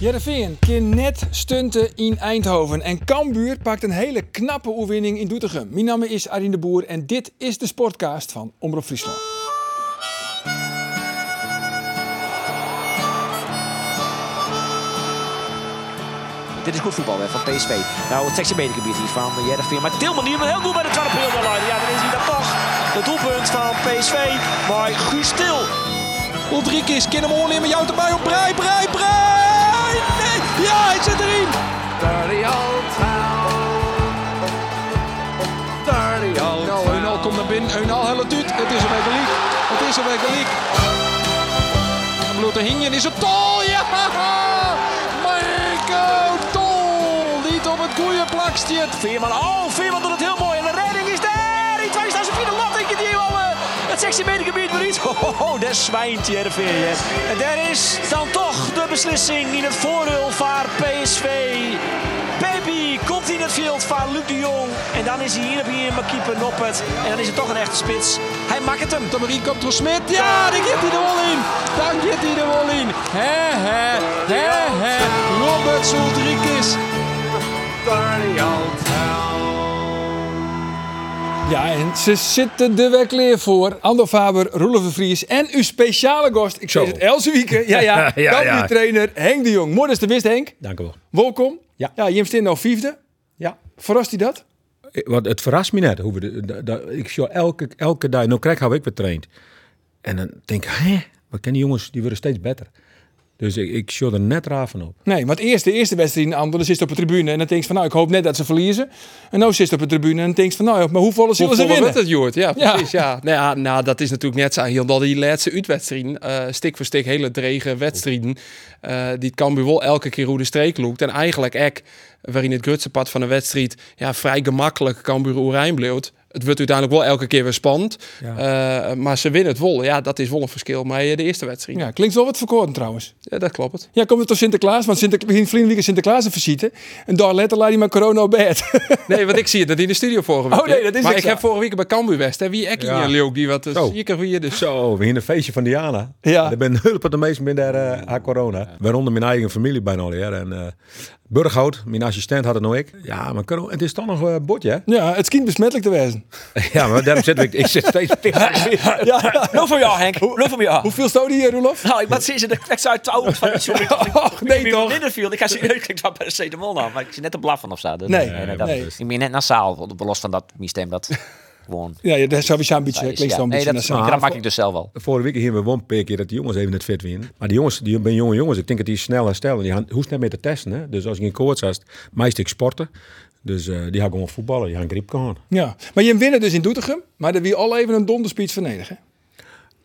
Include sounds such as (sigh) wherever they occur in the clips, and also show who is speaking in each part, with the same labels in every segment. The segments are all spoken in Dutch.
Speaker 1: Jereveen kan net stunten in Eindhoven en Cambuur pakt een hele knappe oewinning in Doetinchem. Mijn naam is Arjen de Boer en dit is de Sportcast van Omroep Friesland.
Speaker 2: Dit is goed voetbal hè, van PSV. Nou, het sectie medegebied hier van Jereveen. Maar Tilman die hem heel goed bij de tweede periode leiden. Ja, dan is hij dat toch. Het doelpunt van PSV Maar Guus Til.
Speaker 1: Ulrikis, kan hem oornemen, jou erbij op brei, brei, brei! Nee, ja, hij zit erin!
Speaker 3: Dirty old town. Dirty old
Speaker 1: Nou, Eunal komt naar binnen, Eunal helpt uit. Het is een week liek, het is een week liek. Blote Hingen is het tol, ja! Marco Tol, niet op het goede plakstje.
Speaker 2: Veerman, oh, Veerman doet het heel mooi. En de redding is daar. Die twee staan zijn vierde lat. Ik die wel eh, het sectie medegebied weer niet. (laughs) Ho, ho, ho, daar zwijnt Jereveen. hè. En daar is dan toch de beslissing in het voordeel van PSV. Pepi komt in het veld van Luc de Jong. En dan is hij hier op hier maar keeper Noppert. En dan is het toch een echte spits. Hij maakt hem.
Speaker 1: Tamarie komt door Smit.
Speaker 2: (laughs)
Speaker 1: Ja, daar gaat hij de wol in. Daar gaat hij de wol in. He, he, he, he. Robert Soldrikis.
Speaker 3: dirty old town.
Speaker 1: Ja, en ze zitten er weer klaar voor. Ando Faber, Roelof de Vries en uw speciale gast. Ik zeg het Else Wieken. Ja, ja.
Speaker 4: Ja,
Speaker 1: ja,
Speaker 4: ja.
Speaker 1: trainer Henk de Jong. Mooi dat je er wist, Henk.
Speaker 4: Dank u wel.
Speaker 1: Welkom.
Speaker 4: Ja.
Speaker 1: ja Jim Stin nou vijfde.
Speaker 4: Ja.
Speaker 1: Verrast hij dat?
Speaker 4: Want Eh, het verrast me net. Hoe we de, da- da- ik zie elke, elke dag, nou krijg hou ik weer traind. En dan denk ik, hè, wat kennen die jongens, die worden steeds beter. Dus ik, ik zie er net raar van op.
Speaker 1: Nee, want eerst de eerste wedstrijd in Andelen zit op de tribune. En dan denk je van nou, ik hoop net dat ze verliezen. En nou zit op de tribune en dan denk je van nou, maar hoeveel zullen ze
Speaker 5: Hoeveel
Speaker 1: winnen?
Speaker 5: wordt het, Joert? Ja,
Speaker 1: Ja.
Speaker 5: precies. Ja. Nou, ja, nou, dat is natuurlijk net zo. Heel dat die laatste uitwedstrijden, eh stik voor stik, hele drege wedstrijden. eh, die het Cambuur wel elke keer hoe de streek loopt. En eigenlijk ek, waarin het grutse pad van de wedstrijd ja, vrij gemakkelijk Cambuur Oerijn bleef. Het wordt uiteindelijk wel elke keer weer spannend. Eh, maar ze winnen het wel. Ja, dat is wel een verschil. Maar de eerste wedstrijd, ja.
Speaker 1: Ja, klinkt wel wat verkoren trouwens.
Speaker 5: dat klopt.
Speaker 1: Ja, komt het door Sinterklaas? Want Sinter begin vriendelijke Sinterklaas een visite. En daar letter laat hij maar corona op bed. (laughs)
Speaker 5: Nee, want ik zie het dat in de studio vorige week.
Speaker 1: Oh, nee, dat is
Speaker 5: maar
Speaker 1: ik
Speaker 5: ik
Speaker 1: zo.
Speaker 5: heb vorige week bij Cambuur West. Hè, wie ek
Speaker 4: Ja.
Speaker 5: in Leeuw die wat eh,
Speaker 4: Zo.
Speaker 5: zieker wie je dus.
Speaker 4: Zo, we in een feestje van Diana.
Speaker 1: Ja.
Speaker 4: Er ben hulp de meesten binnen daar eh, aan corona. Waaronder mijn eigen familie bijna al. ja. En eh Burghout, mijn assistent had het nog ik. Ja, maar corona- het is toch nog een botje, (laughs) hè?
Speaker 1: ja, het schijnt besmettelijk te wezen.
Speaker 4: Ja, maar daarom zit ik, ik zit steeds
Speaker 1: Ja.
Speaker 2: Nul voor jou, Henk. Nul voor jou.
Speaker 1: Hoeveel stoot hier, Roelof?
Speaker 2: Nou, ik wat zie ze de kwets uit de auto
Speaker 6: (laughs)
Speaker 2: van sorry.
Speaker 6: Oh,
Speaker 2: Och,
Speaker 1: nee,
Speaker 2: ik
Speaker 1: toch?
Speaker 2: In de field. Ik ga ze (laughs) ik dacht paracetamol aan, maar ik zie net een blaffen of zo. Dus,
Speaker 1: Nee,
Speaker 2: eh,
Speaker 1: nee,
Speaker 2: dat-
Speaker 1: nee.
Speaker 2: Ik ben net nasaal, los van dat systeem dat gewoon.
Speaker 1: Ja, ja, dat is sowieso een beetje.
Speaker 2: Ja,
Speaker 1: hè. Klinkt
Speaker 2: ja.
Speaker 1: zo een
Speaker 2: nee,
Speaker 1: beetje
Speaker 2: dat,
Speaker 1: naar
Speaker 4: maar-
Speaker 2: dat maak ik dus zelf wel.
Speaker 4: Vorige week hier we wel een paar keer dat die jongens even het fit winnen. Maar die jongens, die ben jonge jongens, ik denk dat die snel herstellen. Die gaan- hoeft net meer te testen. Hè? Dus als ik in koorts had, meest ik sporten. Dus eh, die gaan gewoon voetballen, die gaan griep gaan.
Speaker 1: Ja, maar je winnen dus in Doetinchem. Maar dat wie al even een donderspeech vernedigen.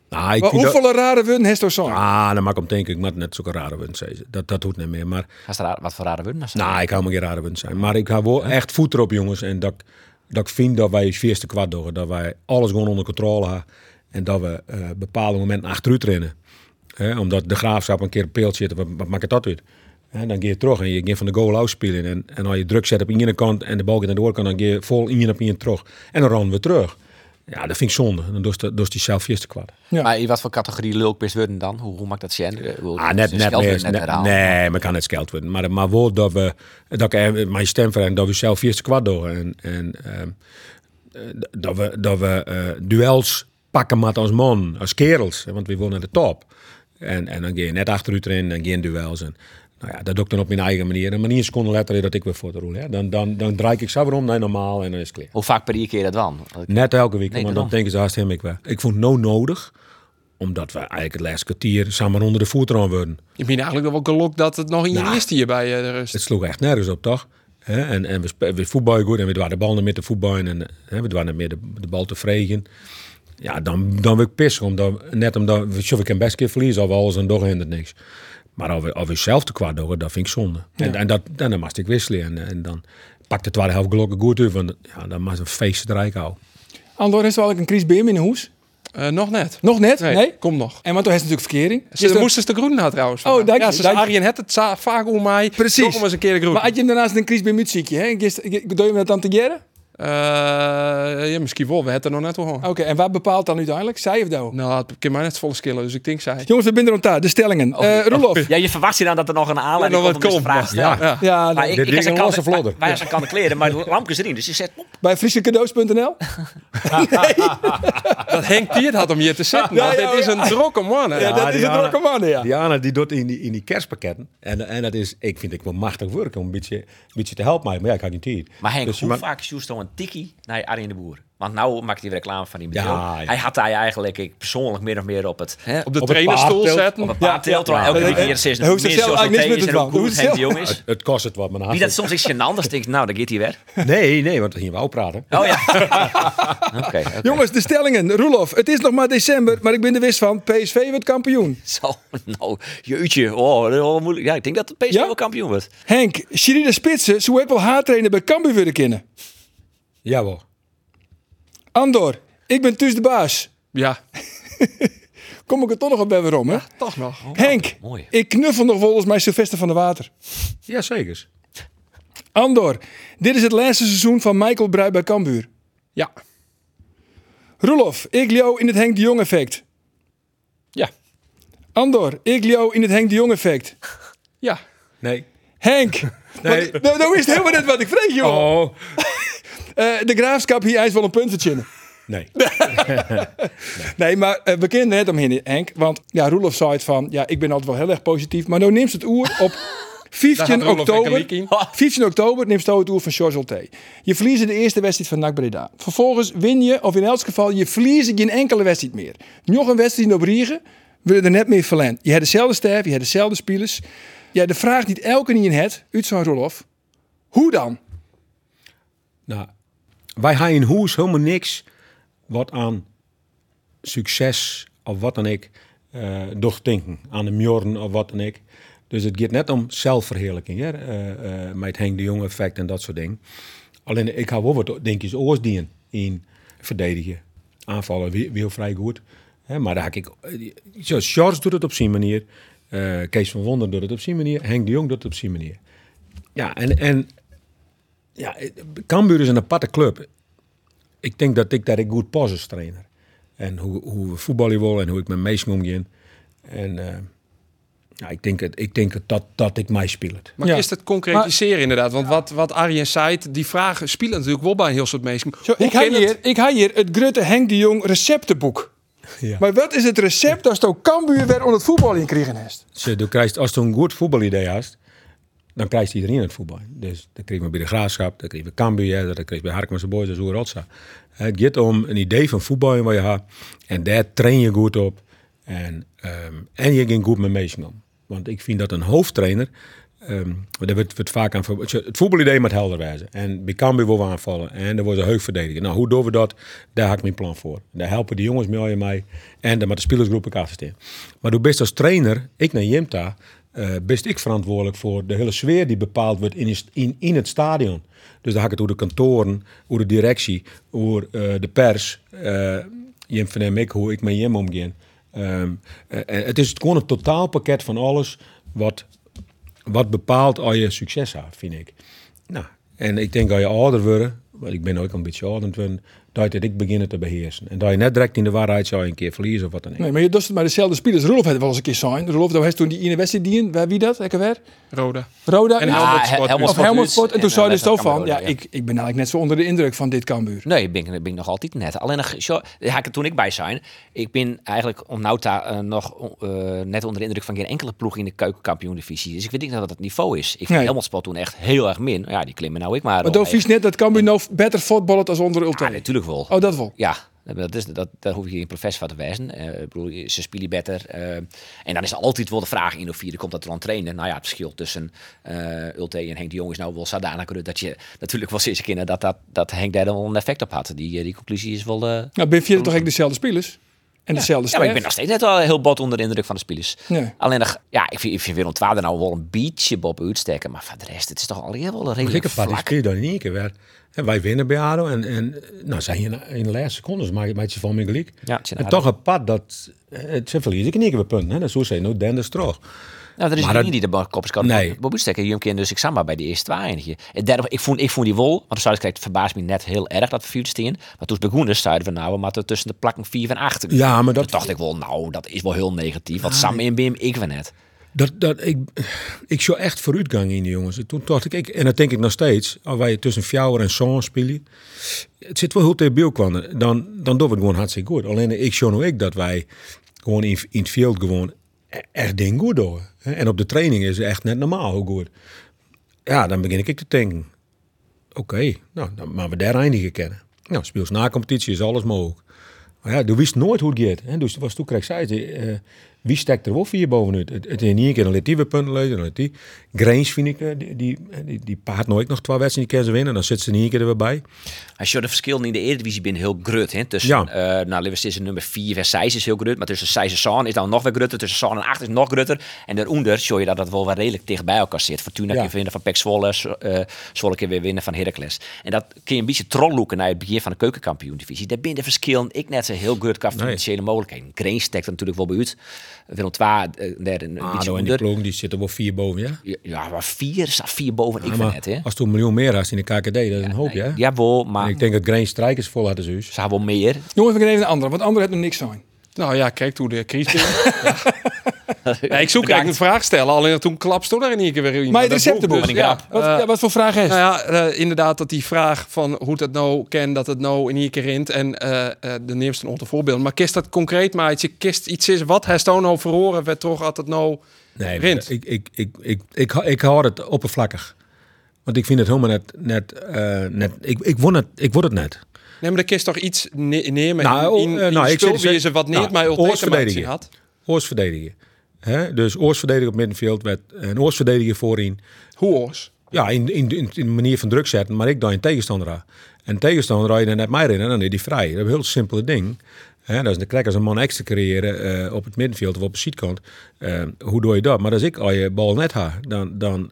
Speaker 4: Nou, ik
Speaker 1: Maar
Speaker 4: vind dat-
Speaker 1: hoeveel rare win heeft zo'n
Speaker 4: Ah, dan maak ik hem denk ik maar net zulke rare winst zijn. Dat, dat hoeft niet meer. Maar
Speaker 2: Gaat er raar- wat voor rare woorden?
Speaker 4: nou, ik hou me geen rare winst zijn. Maar ik hou wel echt voet erop, jongens. En dat, ik- dat ik vind dat wij het vierste kwart doen. Dat wij alles gewoon onder controle hebben. En dat we eh, bepaalde momenten achteruit rennen. Hè, omdat de graafschap een keer op peelt zit, wat, wat maakt het dat uit? Hè, dan ga je terug en je gaat van de goal uitspelen. En, en als je druk zet op de ene kant en de bal gaat aan de andere kant, dan ga je vol in op in terug. En dan rennen we terug. Ja, dat vind ik zonde. Dan doet dat- doet die zelf eerste kwart.
Speaker 1: Ja.
Speaker 2: Maar in wat voor categorie lulkpis worden dan? Hoe, hoe maakt dat zien?
Speaker 7: Eh,
Speaker 4: Ah, net, net, meer,
Speaker 7: dus
Speaker 4: net-
Speaker 2: nee.
Speaker 4: nee, maar kan net geld worden. Maar, maar wel dat we, dat ik eh, mijn stem verreng, dat we zelf eerst kwart door. En, en ehm, eh, dat we, dat we eh, duels pakken met als man, als kerels. hè, Want we willen naar de top. En, en dan ga je net achteruit erin, dan geen duels. En, nou ja, dat doe ik dan op mijn eigen manier. En maar niet een seconde letter dat ik weer voor de roel. Hè. Dan, dan, dan draai ik zo weer om naar normaal en dan is het klaar.
Speaker 2: Hoe vaak per keer dat dan?
Speaker 4: Net elke week,
Speaker 2: Nee,
Speaker 4: maar
Speaker 2: daarom.
Speaker 4: dan denken ze hartstikke ik weg. Ik vond het nou nodig, omdat we eigenlijk het laatste kwartier samen onder de voet aan worden.
Speaker 5: Ik ben eigenlijk nog wel gelokt dat het nog in je
Speaker 4: Nou.
Speaker 5: eerste hier bij eh, de rust.
Speaker 4: Het sloeg echt nergens op, toch? Hè? En, en we, spe- we voetballen goed en we dwaren de bal naar midden voetballen en hè, we dwaren meer de, de bal te vregen. Ja, dan, dan wil ik pissen. Omdat, net omdat, we sjoe, we kunnen best een keer verliezen, of we alles en door hindert niks. Maar als we, als we zelf te kwaad doen, dat vind ik zonde. En, en, dat, en dan moest ik wisselen en, en dan pakte de tweede helft gelukkig goed uit. Want ja, dan moest een feestje eruit houden.
Speaker 1: Andor, is er wel een Chris Beam in de hoes?
Speaker 5: Eh, nog net.
Speaker 1: Nog net? Nee.
Speaker 5: Kom nog.
Speaker 1: En want toen heeft natuurlijk verkering.
Speaker 5: Ze
Speaker 1: Is er-
Speaker 5: moesten de groen na trouwens.
Speaker 1: Oh, dank je,
Speaker 5: Ja, ze
Speaker 1: dank je.
Speaker 5: Arjen het het za- vaak om mij.
Speaker 1: Precies.
Speaker 5: Nog eens een keer de groen.
Speaker 1: Maar had je hem daarnaast een crisis bij muziekje, hè? Gisteren- Doe je hem dat dan te jaren?
Speaker 5: Eh, ja, misschien wel. We hebben het er nog net over.
Speaker 1: Oké, en wat bepaalt dan uiteindelijk? Zij of Douw?
Speaker 5: Nou, het kan mij net volle skillen, dus ik denk zij.
Speaker 1: Jongens, we binden rond daar. De stellingen. Eh Roelof.
Speaker 7: Ja, je verwacht je dan dat er nog een aanleiding
Speaker 5: Ja, nog
Speaker 7: komt
Speaker 5: wat
Speaker 7: om deze
Speaker 5: komt,
Speaker 7: vraag te stellen.
Speaker 4: ja.
Speaker 1: Ja, nou,
Speaker 7: Maar ik,
Speaker 4: Dit
Speaker 7: ik
Speaker 4: ding
Speaker 7: als een
Speaker 4: een
Speaker 7: kan,
Speaker 4: losse vlodder.
Speaker 7: wij als een kan de kleren, maar de lampjes erin. Dus je zet op.
Speaker 1: bij friesjecadeaus.nl.
Speaker 5: (laughs) Dat Henk Piet had om hier te zitten.
Speaker 1: Ja,
Speaker 5: want
Speaker 1: ja, oh
Speaker 5: dit is
Speaker 1: ja.
Speaker 5: een drokke man. hè.
Speaker 1: Ja, dat is een
Speaker 4: Diana.
Speaker 1: drukke man, ja.
Speaker 4: Diana die doet in die, in die kerstpakketten. En, en dat is, ik vind ik wel machtig werk om een beetje, een beetje te helpen mij. Maar ja, ik had geen tijd.
Speaker 7: Maar Henk,
Speaker 4: Dus je
Speaker 7: hoe
Speaker 4: maakt-
Speaker 7: vaak sjoest dan een tikkie naar Arjen de Boer? Want nou maakt hij weer reclame van die bedrijf.
Speaker 4: Ja, ja.
Speaker 7: Hij had hij eigenlijk ik, persoonlijk meer of meer op het... Hè,
Speaker 5: Op de
Speaker 4: Op het
Speaker 5: trainerstoel
Speaker 4: paardbeeld.
Speaker 5: zetten.
Speaker 7: op een paar tilt, waar elke
Speaker 1: Ja.
Speaker 7: week hier zit.
Speaker 1: Hij hoeft zichzelf eigenlijk niks meer te
Speaker 7: doen.
Speaker 1: dwalen.
Speaker 7: Hoe
Speaker 1: Hij hoeft
Speaker 7: het jong is.
Speaker 4: Het, het kost het wat, maar dan
Speaker 7: Wie
Speaker 4: haast
Speaker 7: dat soms is je anders denkt, nou, dan gaat hij weer.
Speaker 4: het- Nee, nee, want dan gingen we ook praten.
Speaker 7: Oh ja. (laughs) Oké. oké.
Speaker 1: Jongens, de stellingen. Roelof, het is nog maar december, maar ik ben er wist van. PSV wordt kampioen.
Speaker 7: Zo, nou, jeetje. Oh, dat is wel moeilijk. Ja, ik denk dat de PSV
Speaker 1: Ja?
Speaker 7: wel kampioen wordt.
Speaker 1: Henk, Sherida Spitsen zou ik wel haartrainer bij Cambuur willen kennen.
Speaker 4: Jawel.
Speaker 1: Andor, ik ben thuis de baas.
Speaker 5: Ja,
Speaker 1: (laughs) Kom ik er toch nog op bij weer om, hè?
Speaker 5: toch nog.
Speaker 1: Henk,
Speaker 7: mooi.
Speaker 1: ik knuffel nog volgens mij Sylvester van der Water.
Speaker 4: Jazeker.
Speaker 1: Andor, dit is het laatste seizoen van Michael Bruij bij Cambuur.
Speaker 5: Ja.
Speaker 1: Roelof, ik leo in het Henk de Jong effect.
Speaker 5: Ja.
Speaker 1: Andor, ik leo in het Henk de Jong effect.
Speaker 5: (laughs) Ja.
Speaker 4: Nee.
Speaker 1: Henk,
Speaker 4: Nee.
Speaker 1: wat- (laughs) nou, nou is het helemaal net wat ik vrees, joh.
Speaker 4: Oh.
Speaker 1: Eh, de graafschap hier eist wel een punt verzinnen.
Speaker 4: Nee.
Speaker 1: Nee, maar eh, we kennen er net omheen, Henk. Want ja, Roelof zei het van, ja, ik ben altijd wel heel erg positief. Maar nou neemt het oer op 15
Speaker 5: (laughs) Daar had Roelof lekker
Speaker 1: oktober.
Speaker 5: liek in.
Speaker 1: 15 oktober neemt Stoot het oer van George Olté. Je verliezen de eerste wedstrijd van NAC Breda. Vervolgens win je, of in elk geval, je verliezen geen enkele wedstrijd meer. Nog een wedstrijd op Riegen, wil je er net meer verlenen. Je hebt dezelfde sterf, je hebt dezelfde spelers. Ja, de vraag die elke niet in het, uit zo'n Roelof. Hoe dan?
Speaker 4: Nou, wij gaan in hoes helemaal niks wat aan succes of wat dan ik eh doordenken. Aan de mjorden of wat dan ik. Dus het gaat net om zelfverheerlijking. Hè? eh, eh, met het Henk de Jong effect en dat soort dingen. Alleen ik hou wel wat denkjes oorsdien in verdedigen. Aanvallen weer, weer vrij goed. Hè? Maar daar heb ik... eh, Zo, Charles doet het op zijn manier. eh, Kees van Wonder doet het op zijn manier. Henk de Jong doet het op zijn manier. Ja, en, en ja, eh, Cambuur is een aparte club. Ik denk dat ik daar ik goed pas als trainer. En hoe, hoe we voetballen willen en hoe ik met mensen omgeen. En eh, ja, ik denk, het, ik denk dat, dat ik mij speel het.
Speaker 5: Maar
Speaker 1: Ja.
Speaker 5: is het concretiseren inderdaad? Want wat, wat Arjen zei, die vragen spelen natuurlijk wel bij een heel soort mensen.
Speaker 1: Zo,
Speaker 5: Hoe
Speaker 1: ik, heb
Speaker 5: kan het-
Speaker 1: hier, ik heb hier het Grutte Henk de Jong receptenboek.
Speaker 4: Ja.
Speaker 1: Maar wat is het recept als ook Cambuur weer onder het voetbal in kregen heeft?
Speaker 4: Ze, je krijgt, als je een goed voetbalidee hebt, dan krijgt iedereen het voetbal. Dus dan krijg je bij de Graafschap, dan krijg je bij Cambuur, dan krijg je bij Harkema's Boys, dat is hoe Rotsa. Het gaat om een idee van voetbal in wat je hebt. En daar train je goed op. En, ehm, en je ging goed met mensen om. Want ik vind dat een hoofdtrainer, ehm, daar wordt wordt vaak aan... ver- Het voetbalidee moet helder wijzen. En bij Cambuur wil we aanvallen. En er wordt een heug verdedigen. Nou, hoe doen we dat? Daar haak ik mijn plan voor. Daar helpen die jongens mee, mij. En daar moet de spelersgroep elkaar in. Maar door best als trainer, ik naar Jimta, eh best ik verantwoordelijk voor de hele sfeer die bepaald wordt in, is- in, in het stadion. Dus daar hak ik het over de kantoren, over de directie, over eh, de pers. eh Jim van hem, ik, hoe ik met Jim omga. Ehm, eh, eh, het is gewoon een totaalpakket van alles wat, wat bepaalt al je succes hebt, vind ik. Nou, en ik denk dat je ouder wordt, want ik ben ook een beetje ouder, dan dat je dit beginnen te beheersen. En dat je net direct in de waarheid zou een keer verliezen of wat dan ook.
Speaker 1: Nee, maar je doet het maar dezelfde spelers. Roelof had wel eens een keer zijn. Roelof, daar was toen die ene wedstrijd die in, waar- wie dat? Lekker weer?
Speaker 5: Roda.
Speaker 1: Roda?
Speaker 5: En
Speaker 1: Ja,
Speaker 5: Helmond
Speaker 7: Ah,
Speaker 5: Sport.
Speaker 7: He-
Speaker 1: of
Speaker 7: Helmond
Speaker 1: Helmond
Speaker 7: Sport.
Speaker 1: Sport. En toen
Speaker 7: zou
Speaker 1: zei hij zo van, ja, ik, ik ben eigenlijk net zo onder de indruk van dit Cambuur.
Speaker 7: Nee, ik ben, ik ben nog altijd net. Alleen nog, zo, daar haak ik toen ik bij zijn. Ik ben eigenlijk om Nauta eh, nog eh, net onder de indruk van geen enkele ploeg in de keukenkampioen-divisie. Dus ik weet niet wat het niveau is. Ik
Speaker 1: Nee.
Speaker 7: vond Helmond Sport toen echt heel erg min. Ja, die klimmen nou ik maar.
Speaker 1: Maar
Speaker 7: al
Speaker 1: dan
Speaker 7: mee.
Speaker 1: vies net dat Cambuur nou beter voetballen als onder Ultra.
Speaker 7: Ja, natuurlijk wel.
Speaker 1: Oh, dat wel.
Speaker 7: Ja, dat is, dat, daar hoef je geen professor van te wijzen. Eh, ik bedoel, ze spelen beter. eh, en dan is er altijd wel de vraag in of vierde komt dat er aan trainen. Nou ja, het verschil tussen eh Ulte en Henk de Jong is nou wel zodanig groot dat je natuurlijk wel sinds kinderen dat, dat, dat Henk daar dan wel een effect op had. Die, eh, die conclusie is wel... eh,
Speaker 1: Nou, ben je toch eigenlijk dezelfde spelers? En dezelfde
Speaker 7: Ja, maar ik ben
Speaker 1: sterf.
Speaker 7: nog steeds net wel heel bot onder de indruk van de spelers.
Speaker 1: Nee.
Speaker 7: Alleen, nog- ja, ik vind, ik vind Willem II er nou wel een beetje bob uitsteken. Maar voor de rest, het is toch al heel wel een redelijk
Speaker 4: Zeker
Speaker 7: vlak.
Speaker 4: participeer dan in één keer weer. En wij winnen bij ADO. En, en nou, zijn je in de laatste secondes maakt maakt je van mij gelijk.
Speaker 7: Ja, het is een
Speaker 4: en
Speaker 7: ADO.
Speaker 4: toch een pad dat... Het zijn verliezen in één keer weer punten. Hè. Dat is hoe ze nou denders terug.
Speaker 7: Nou, er is
Speaker 4: Maar
Speaker 7: niet
Speaker 4: dat-
Speaker 7: die de koppers kan
Speaker 4: Nee.
Speaker 7: bob uitsteken. Jum keer dus ik samen bij de eerste twee eindigen. En daarom, ik vond, ik vond die wol, want de krijgt verbaasd me net heel erg dat vierde steen. Maar toen begonnen zeiden we nou, we moeten tussen de plakken 4 en 8.
Speaker 4: Ja, maar dat- Ah,
Speaker 7: Toen dacht ik wel, nou, dat is wel heel negatief. Want Sam en Bim, ik ben net.
Speaker 4: Dat, dat, ik, ik zou echt vooruitgang in die jongens. En Toen dacht ik, ik, en dat denk ik nog steeds, als wij tussen Fjouwer en Son spelen, het zit wel heel tegen beeld kwamen, dan, dan doen we het gewoon hartstikke goed. Alleen ik zou nou ik dat wij gewoon in, in het veld gewoon e- echt ding goed doen. hè. En op de training is het echt net normaal hoe goed. Ja, dan begin ik te denken, oké, nou, dan maar we daar eindigen kennen. Nou, speels na competitie is alles mogelijk. Maar ja, je wist nooit hoe het gaat. Hè? Dus was toen kreeg zij het, eh, wie steekt er wel vier bovenuit? Het, het in één keer, dan liet die weer punten lezen, dan liet die. Grains vind ik, eh, die, die, die, die paard nooit nog twee wedstrijden die kan ze winnen. Dan zit ze in één keer er weer bij.
Speaker 7: Als je de verschillen in de Eredivisie bent heel grut. Hè? Tussen,
Speaker 4: Ja.
Speaker 7: eh nou, Liverpool is een nummer 4 en 6 is heel grut. Maar tussen 6 en Saan is dan nog weer grutter. Tussen Saan en 8 is nog grutter. En daaronder zie je dat dat wel wel redelijk dicht bij elkaar zit. Fortuna
Speaker 4: Ja.
Speaker 7: keer winnen van Pek Zwolle. Z- eh, Zwolle keer weer winnen van Heracles. En dat kun je een beetje trolloeken naar het begin van de keukenkampioen-divisie. Daar binnen de verschillen ik net zo heel grut qua financiële mogelijkheden. Green steekt er natuurlijk wel bij uit. Willem II eh, daar een beetje
Speaker 4: Ado en Ah, die
Speaker 7: onder.
Speaker 4: ploeg, die zitten wel vier boven, ja.
Speaker 7: Ja, maar 4 staat 4 boven. ik
Speaker 4: Ja,
Speaker 7: vind
Speaker 4: maar
Speaker 7: het, hè.
Speaker 4: als toen een miljoen meer had in de KKD, dat is een hoop, ja.
Speaker 7: Jawel,
Speaker 4: En
Speaker 7: maar
Speaker 4: ik denk dat Grains strijkers vol hadden, zus.
Speaker 7: ze hebben wel meer.
Speaker 1: Jongens, we gaan even naar anderen, want anderen hebben er niks aan.
Speaker 5: Nou ja, kijk hoe
Speaker 1: (laughs)
Speaker 5: de crisis is.
Speaker 7: (laughs)
Speaker 5: ja. Nee, ik zoek eigenlijk een vraag stellen, alleen toen klapst er daar in één keer weer iemand.
Speaker 1: Maar het
Speaker 5: Dat
Speaker 1: receptenboek.
Speaker 5: boek dus,
Speaker 7: Ja.
Speaker 5: ja.
Speaker 1: Wat,
Speaker 5: Eh,
Speaker 1: ja, wat voor vraag is?
Speaker 5: Nou ja, eh, inderdaad, dat die vraag van hoe het nou kan, dat het nou in ieder keer rint. En eh eh de neemste een voorbeeld. Maar kist dat concreet maatje? Kist iets is wat hij nou nou verhoren werd toch altijd nou
Speaker 4: Nee, maar
Speaker 5: rint?
Speaker 4: Ik, ik, ik, ik, ik, hou- ik hou het oppervlakkig. Want ik vind het helemaal net... net, eh, net ik, ik, word het, ik word het net.
Speaker 5: Nee, maar er kist toch iets ne- nemen
Speaker 4: Nou,
Speaker 5: in, in,
Speaker 4: eh,
Speaker 5: in
Speaker 4: nou, ik
Speaker 5: spul
Speaker 4: zit-
Speaker 5: wie ze wat neemt,
Speaker 4: nou,
Speaker 5: maar ultieme
Speaker 4: oorverdediger.
Speaker 5: had.
Speaker 4: Oorsverdediger. Hè? Dus oorsverdediger op middenveld. Werd een oorsverdediger voorin.
Speaker 5: Hoe oors?
Speaker 4: Ja, in, in, in, in de manier van druk zetten. Maar ik dan een tegenstander aan. En tegenstander rijden je dan net mij in. En dan is die vrij. Dat is een heel simpele ding. Hè? Dat is de crack als een man extra creëren eh, op het middenveld of op de sheetkant. hoe doe je dat? Maar als ik al je bal net ha, dan... dan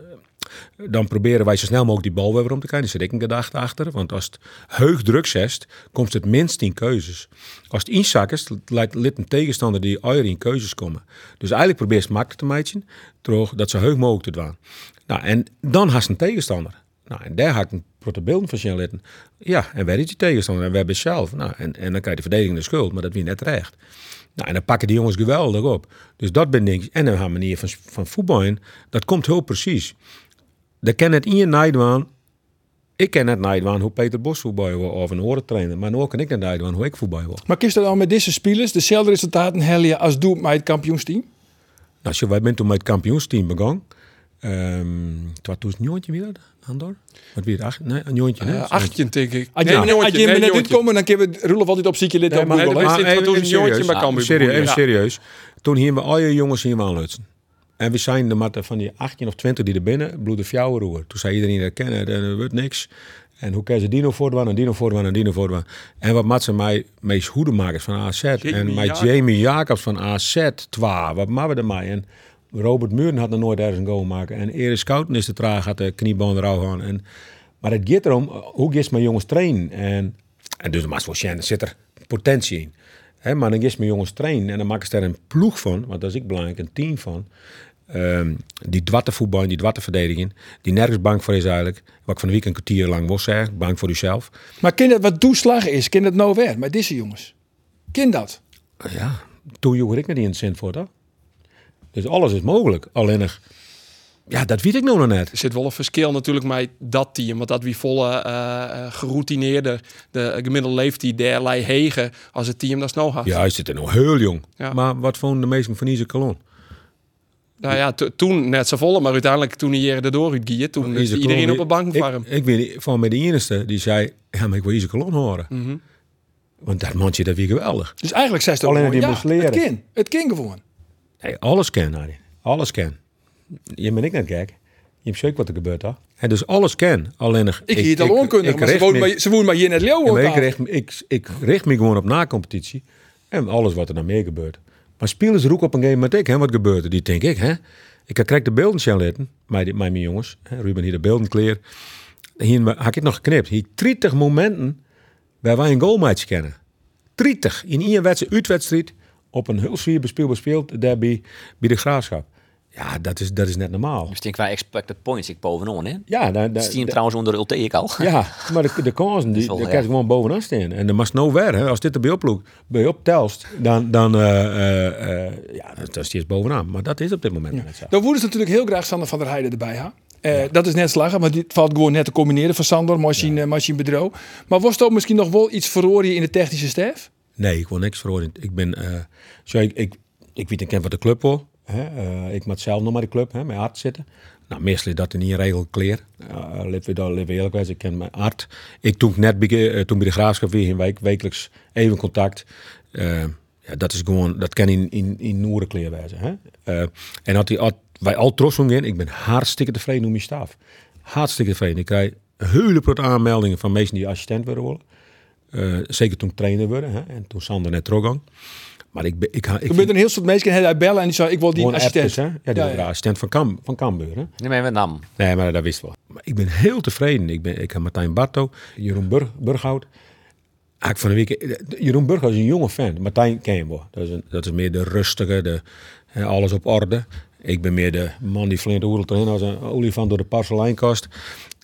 Speaker 4: dan proberen wij zo snel mogelijk die bal weer weer om te krijgen. Daar zit ik een gedachte achter. Want als het heug druk zest, komt het minst tien keuzes. Als het inzakkers, leidt lid een tegenstander die eieren in keuzes komen. Dus eigenlijk probeer je het makkelijk te maken, door dat zo heug mogelijk te doen. Nou, en dan haast een tegenstander. Nou, en daar had ik een protobeeld van zien litten. Ja, en waar is die tegenstander? En we hebben zelf. Nou, en, en dan krijgt de verdediging de schuld, maar dat wie net terecht. Nou, en dan pakken die jongens geweldig op. Dus dat ben ik. En dan haar manier van, van voetballen, dat komt heel precies. Dat ken het in je Nijdwaan. Ik ken het Nijdwaan hoe Peter Bos voetbal wil of een horen trainer. Maar nu kan ik naar Nijdwaan hoe ik voetbal wil.
Speaker 1: Maar kist er dan nou met deze spelers dezelfde resultaten hellen als doe met het kampioensteam?
Speaker 4: Nou, zo, wij zijn toen met het kampioensteam begonnen. Ehm het was toen een jongetje wie dat, Andor? Wat wie het? Acht, nee, een jongetje. nee,
Speaker 5: Eh,
Speaker 4: zo'n-
Speaker 5: achtje, denk ik.
Speaker 1: Als je,
Speaker 5: nee,
Speaker 1: als je
Speaker 5: jongetje,
Speaker 1: me
Speaker 5: nee,
Speaker 1: net
Speaker 5: jongetje.
Speaker 1: uitkomen, dan kunnen we Roelof altijd op zieke lid
Speaker 4: Nee,
Speaker 1: op
Speaker 4: maar
Speaker 1: Google,
Speaker 4: even
Speaker 1: hè?
Speaker 5: is
Speaker 4: serieus.
Speaker 5: dit wat toen een jongetje
Speaker 4: serieus. Ah,
Speaker 5: bij Cambuur
Speaker 4: Serieus, even
Speaker 5: begon, ja.
Speaker 4: serieus. Toen hier we al je jongens hier aanlutsen. En we zijn de matten van die 18 of 20 die er binnen bloeden fjouwen roer. Toen zei iedereen dat kennen, dat wordt niks. En hoe kan ze Dino voortwan en Dino voortwan en Dino voortwan. En wat maakt ze mij meest hoedemakers van AZ. en mij
Speaker 5: Jacobs.
Speaker 4: Jamie Jacobs van AZ. Twa, wat maken we ermee? En Robert Muren had nog nooit ergens een goal maken. En Eris Kouten is te traag, had de knieband eruit gaan. En, maar het gaat erom, eh, hoe gaan ze mijn jongens trainen? En, en dus, maar voor Shen zit er potentie in. Hè, maar dan gaan ze mijn jongens trainen en dan maken ze daar een ploeg van. Want dat is ik belangrijk, een team van. Ehm, die dwatte voetbal, die dwatte verdediging. Die nergens bang voor is eigenlijk. Wat ik van de week een kwartier lang was zeg. Bang voor uzelf.
Speaker 1: Maar kind dat wat toeslag is, kind dat nou weer met deze jongens? Kind dat?
Speaker 4: Ja, toen joeg ik niet in zin voor dat. Dus alles is mogelijk. Alleen nog, ja, dat weet ik nou nog net.
Speaker 5: Er zit wel een verschil natuurlijk met dat team. Want dat wie volle eh eh, geroutineerder, de eh, gemiddelde leeftijd derlei hegen als het team dat snel had.
Speaker 4: Ja, hij zit er nog heel jong.
Speaker 5: Ja.
Speaker 4: Maar wat vonden de meesten van Ize Kalon?
Speaker 5: Nou ja, to- toen net zo volle, maar uiteindelijk toen hij hier erdoor uitgiet, toen is
Speaker 4: Ize Kalon,
Speaker 5: iedereen op
Speaker 4: die-
Speaker 5: een bank
Speaker 4: ik-
Speaker 5: voor hem.
Speaker 4: Ik, weet niet, van mij de enige die zei, ja, maar ik wil Ize Kalon horen.
Speaker 5: Mhm.
Speaker 4: Want dat mandje, dat wie geweldig.
Speaker 1: Dus eigenlijk zei ze
Speaker 4: Alleen
Speaker 1: gewoon,
Speaker 4: die
Speaker 1: ja,
Speaker 4: moest leren.
Speaker 1: Het kind, het kind gewoon.
Speaker 4: Nee, alles kan, Harry. Alles kan. Je ben ik net gek. Je hebt zeker wat er gebeurt, hè? En dus alles kan. Alleen nog...
Speaker 1: Ik, hier het al onkundig, maar ze
Speaker 4: richt
Speaker 1: woont
Speaker 4: me-
Speaker 1: maar- ze woont maar hier net
Speaker 4: Ja, maar
Speaker 1: Leeuwen.
Speaker 4: ik, richt, me- ik, ik richt me gewoon op na-competitie. En alles wat er dan meer gebeurt. Maar spelers roepen op een game met ik, hè, wat gebeurt er? Die denk ik, hè? Ik krijg de beelden zien laten, mijn, mijn, mijn jongens. hè, Ruben hier de beelden kleer. Hier had ik het nog geknipt. Hier 30 momenten waar wij een goalmatch kennen. 30 in één wedstrijd, uitwedstrijd, op een hulsvier bespiel bespeeld, daar bij, bij de Graafschap. Ja, dat is, dat is net normaal.
Speaker 7: Dus ik denk qua expected points ik bovenaan, hè?
Speaker 4: Ja, daar,
Speaker 7: Dat
Speaker 4: daar,
Speaker 7: is die trouwens onder Ulte ik al.
Speaker 4: ja, maar de, de kansen, die,
Speaker 7: wel,
Speaker 4: daar
Speaker 7: ja.
Speaker 4: krijg je gewoon bovenaan staan. En dan mag nou weer, hè. als dit erbij oploekt, bij optelst, dan, dan eh, eh, eh, ja, dan, dan steeds bovenaan. Maar dat is op dit moment net zo.
Speaker 1: Dan woeden ze natuurlijk heel graag Sander van der Heijden erbij ha. Eh, Dat is net slagen, maar dit valt gewoon net te combineren van Sander, machine, eh, machine bedro. Maar was dat misschien nog wel iets verroren in de technische staf?
Speaker 4: Nee, ik wil niks verhoren. Ik ben, eh, zo, ik, ik, ik weet en ken wat de club wil. Hè? Eh, ik moet zelf nog maar de club, hè, mijn hart zitten. Nou, meestal is dat in ieder regel kleer. Uh, we daar leven eerlijk wijs. Ik ken mijn hart. Ik toen ik net bij, eh, toen bij de graafschap weer in week, wekelijks even contact. Eh, ja, dat is gewoon, dat kan in in in noere kleer wijzen. Hè? Eh, en had die had, wij al trots om in. Ik ben hartstikke tevreden om mijn staf. Hartstikke tevreden. Ik krijg een hele grote aanmeldingen van mensen die assistent willen worden. Eh, zeker toen ik trainer werd hè, en toen Sander net trok aan. Maar ik, ben- ik, ha- ik,
Speaker 1: Er bent een heel soort mensen die bellen en die zei ik wil die
Speaker 4: gewoon
Speaker 1: assistent.
Speaker 4: appjes, hè? Ja, die
Speaker 1: Ja,
Speaker 4: waren
Speaker 1: ja.
Speaker 4: assistent van, Kam, van Cambuur. Hè?
Speaker 7: (laughs) Nee, maar met Nam.
Speaker 4: Nee, maar dat wist wel. Maar ik ben heel tevreden. Ik, ben, ik heb Martijn Barto, Jeroen Burg, Burghout. Haak van de week. Jeroen Burghout is een jonge fan. Martijn ken je wel. Dat is, een, dat is meer de rustige, de, hè, alles op orde. Ik ben meer de man die flint hoedelt erin als een olifant door de parseleinkast.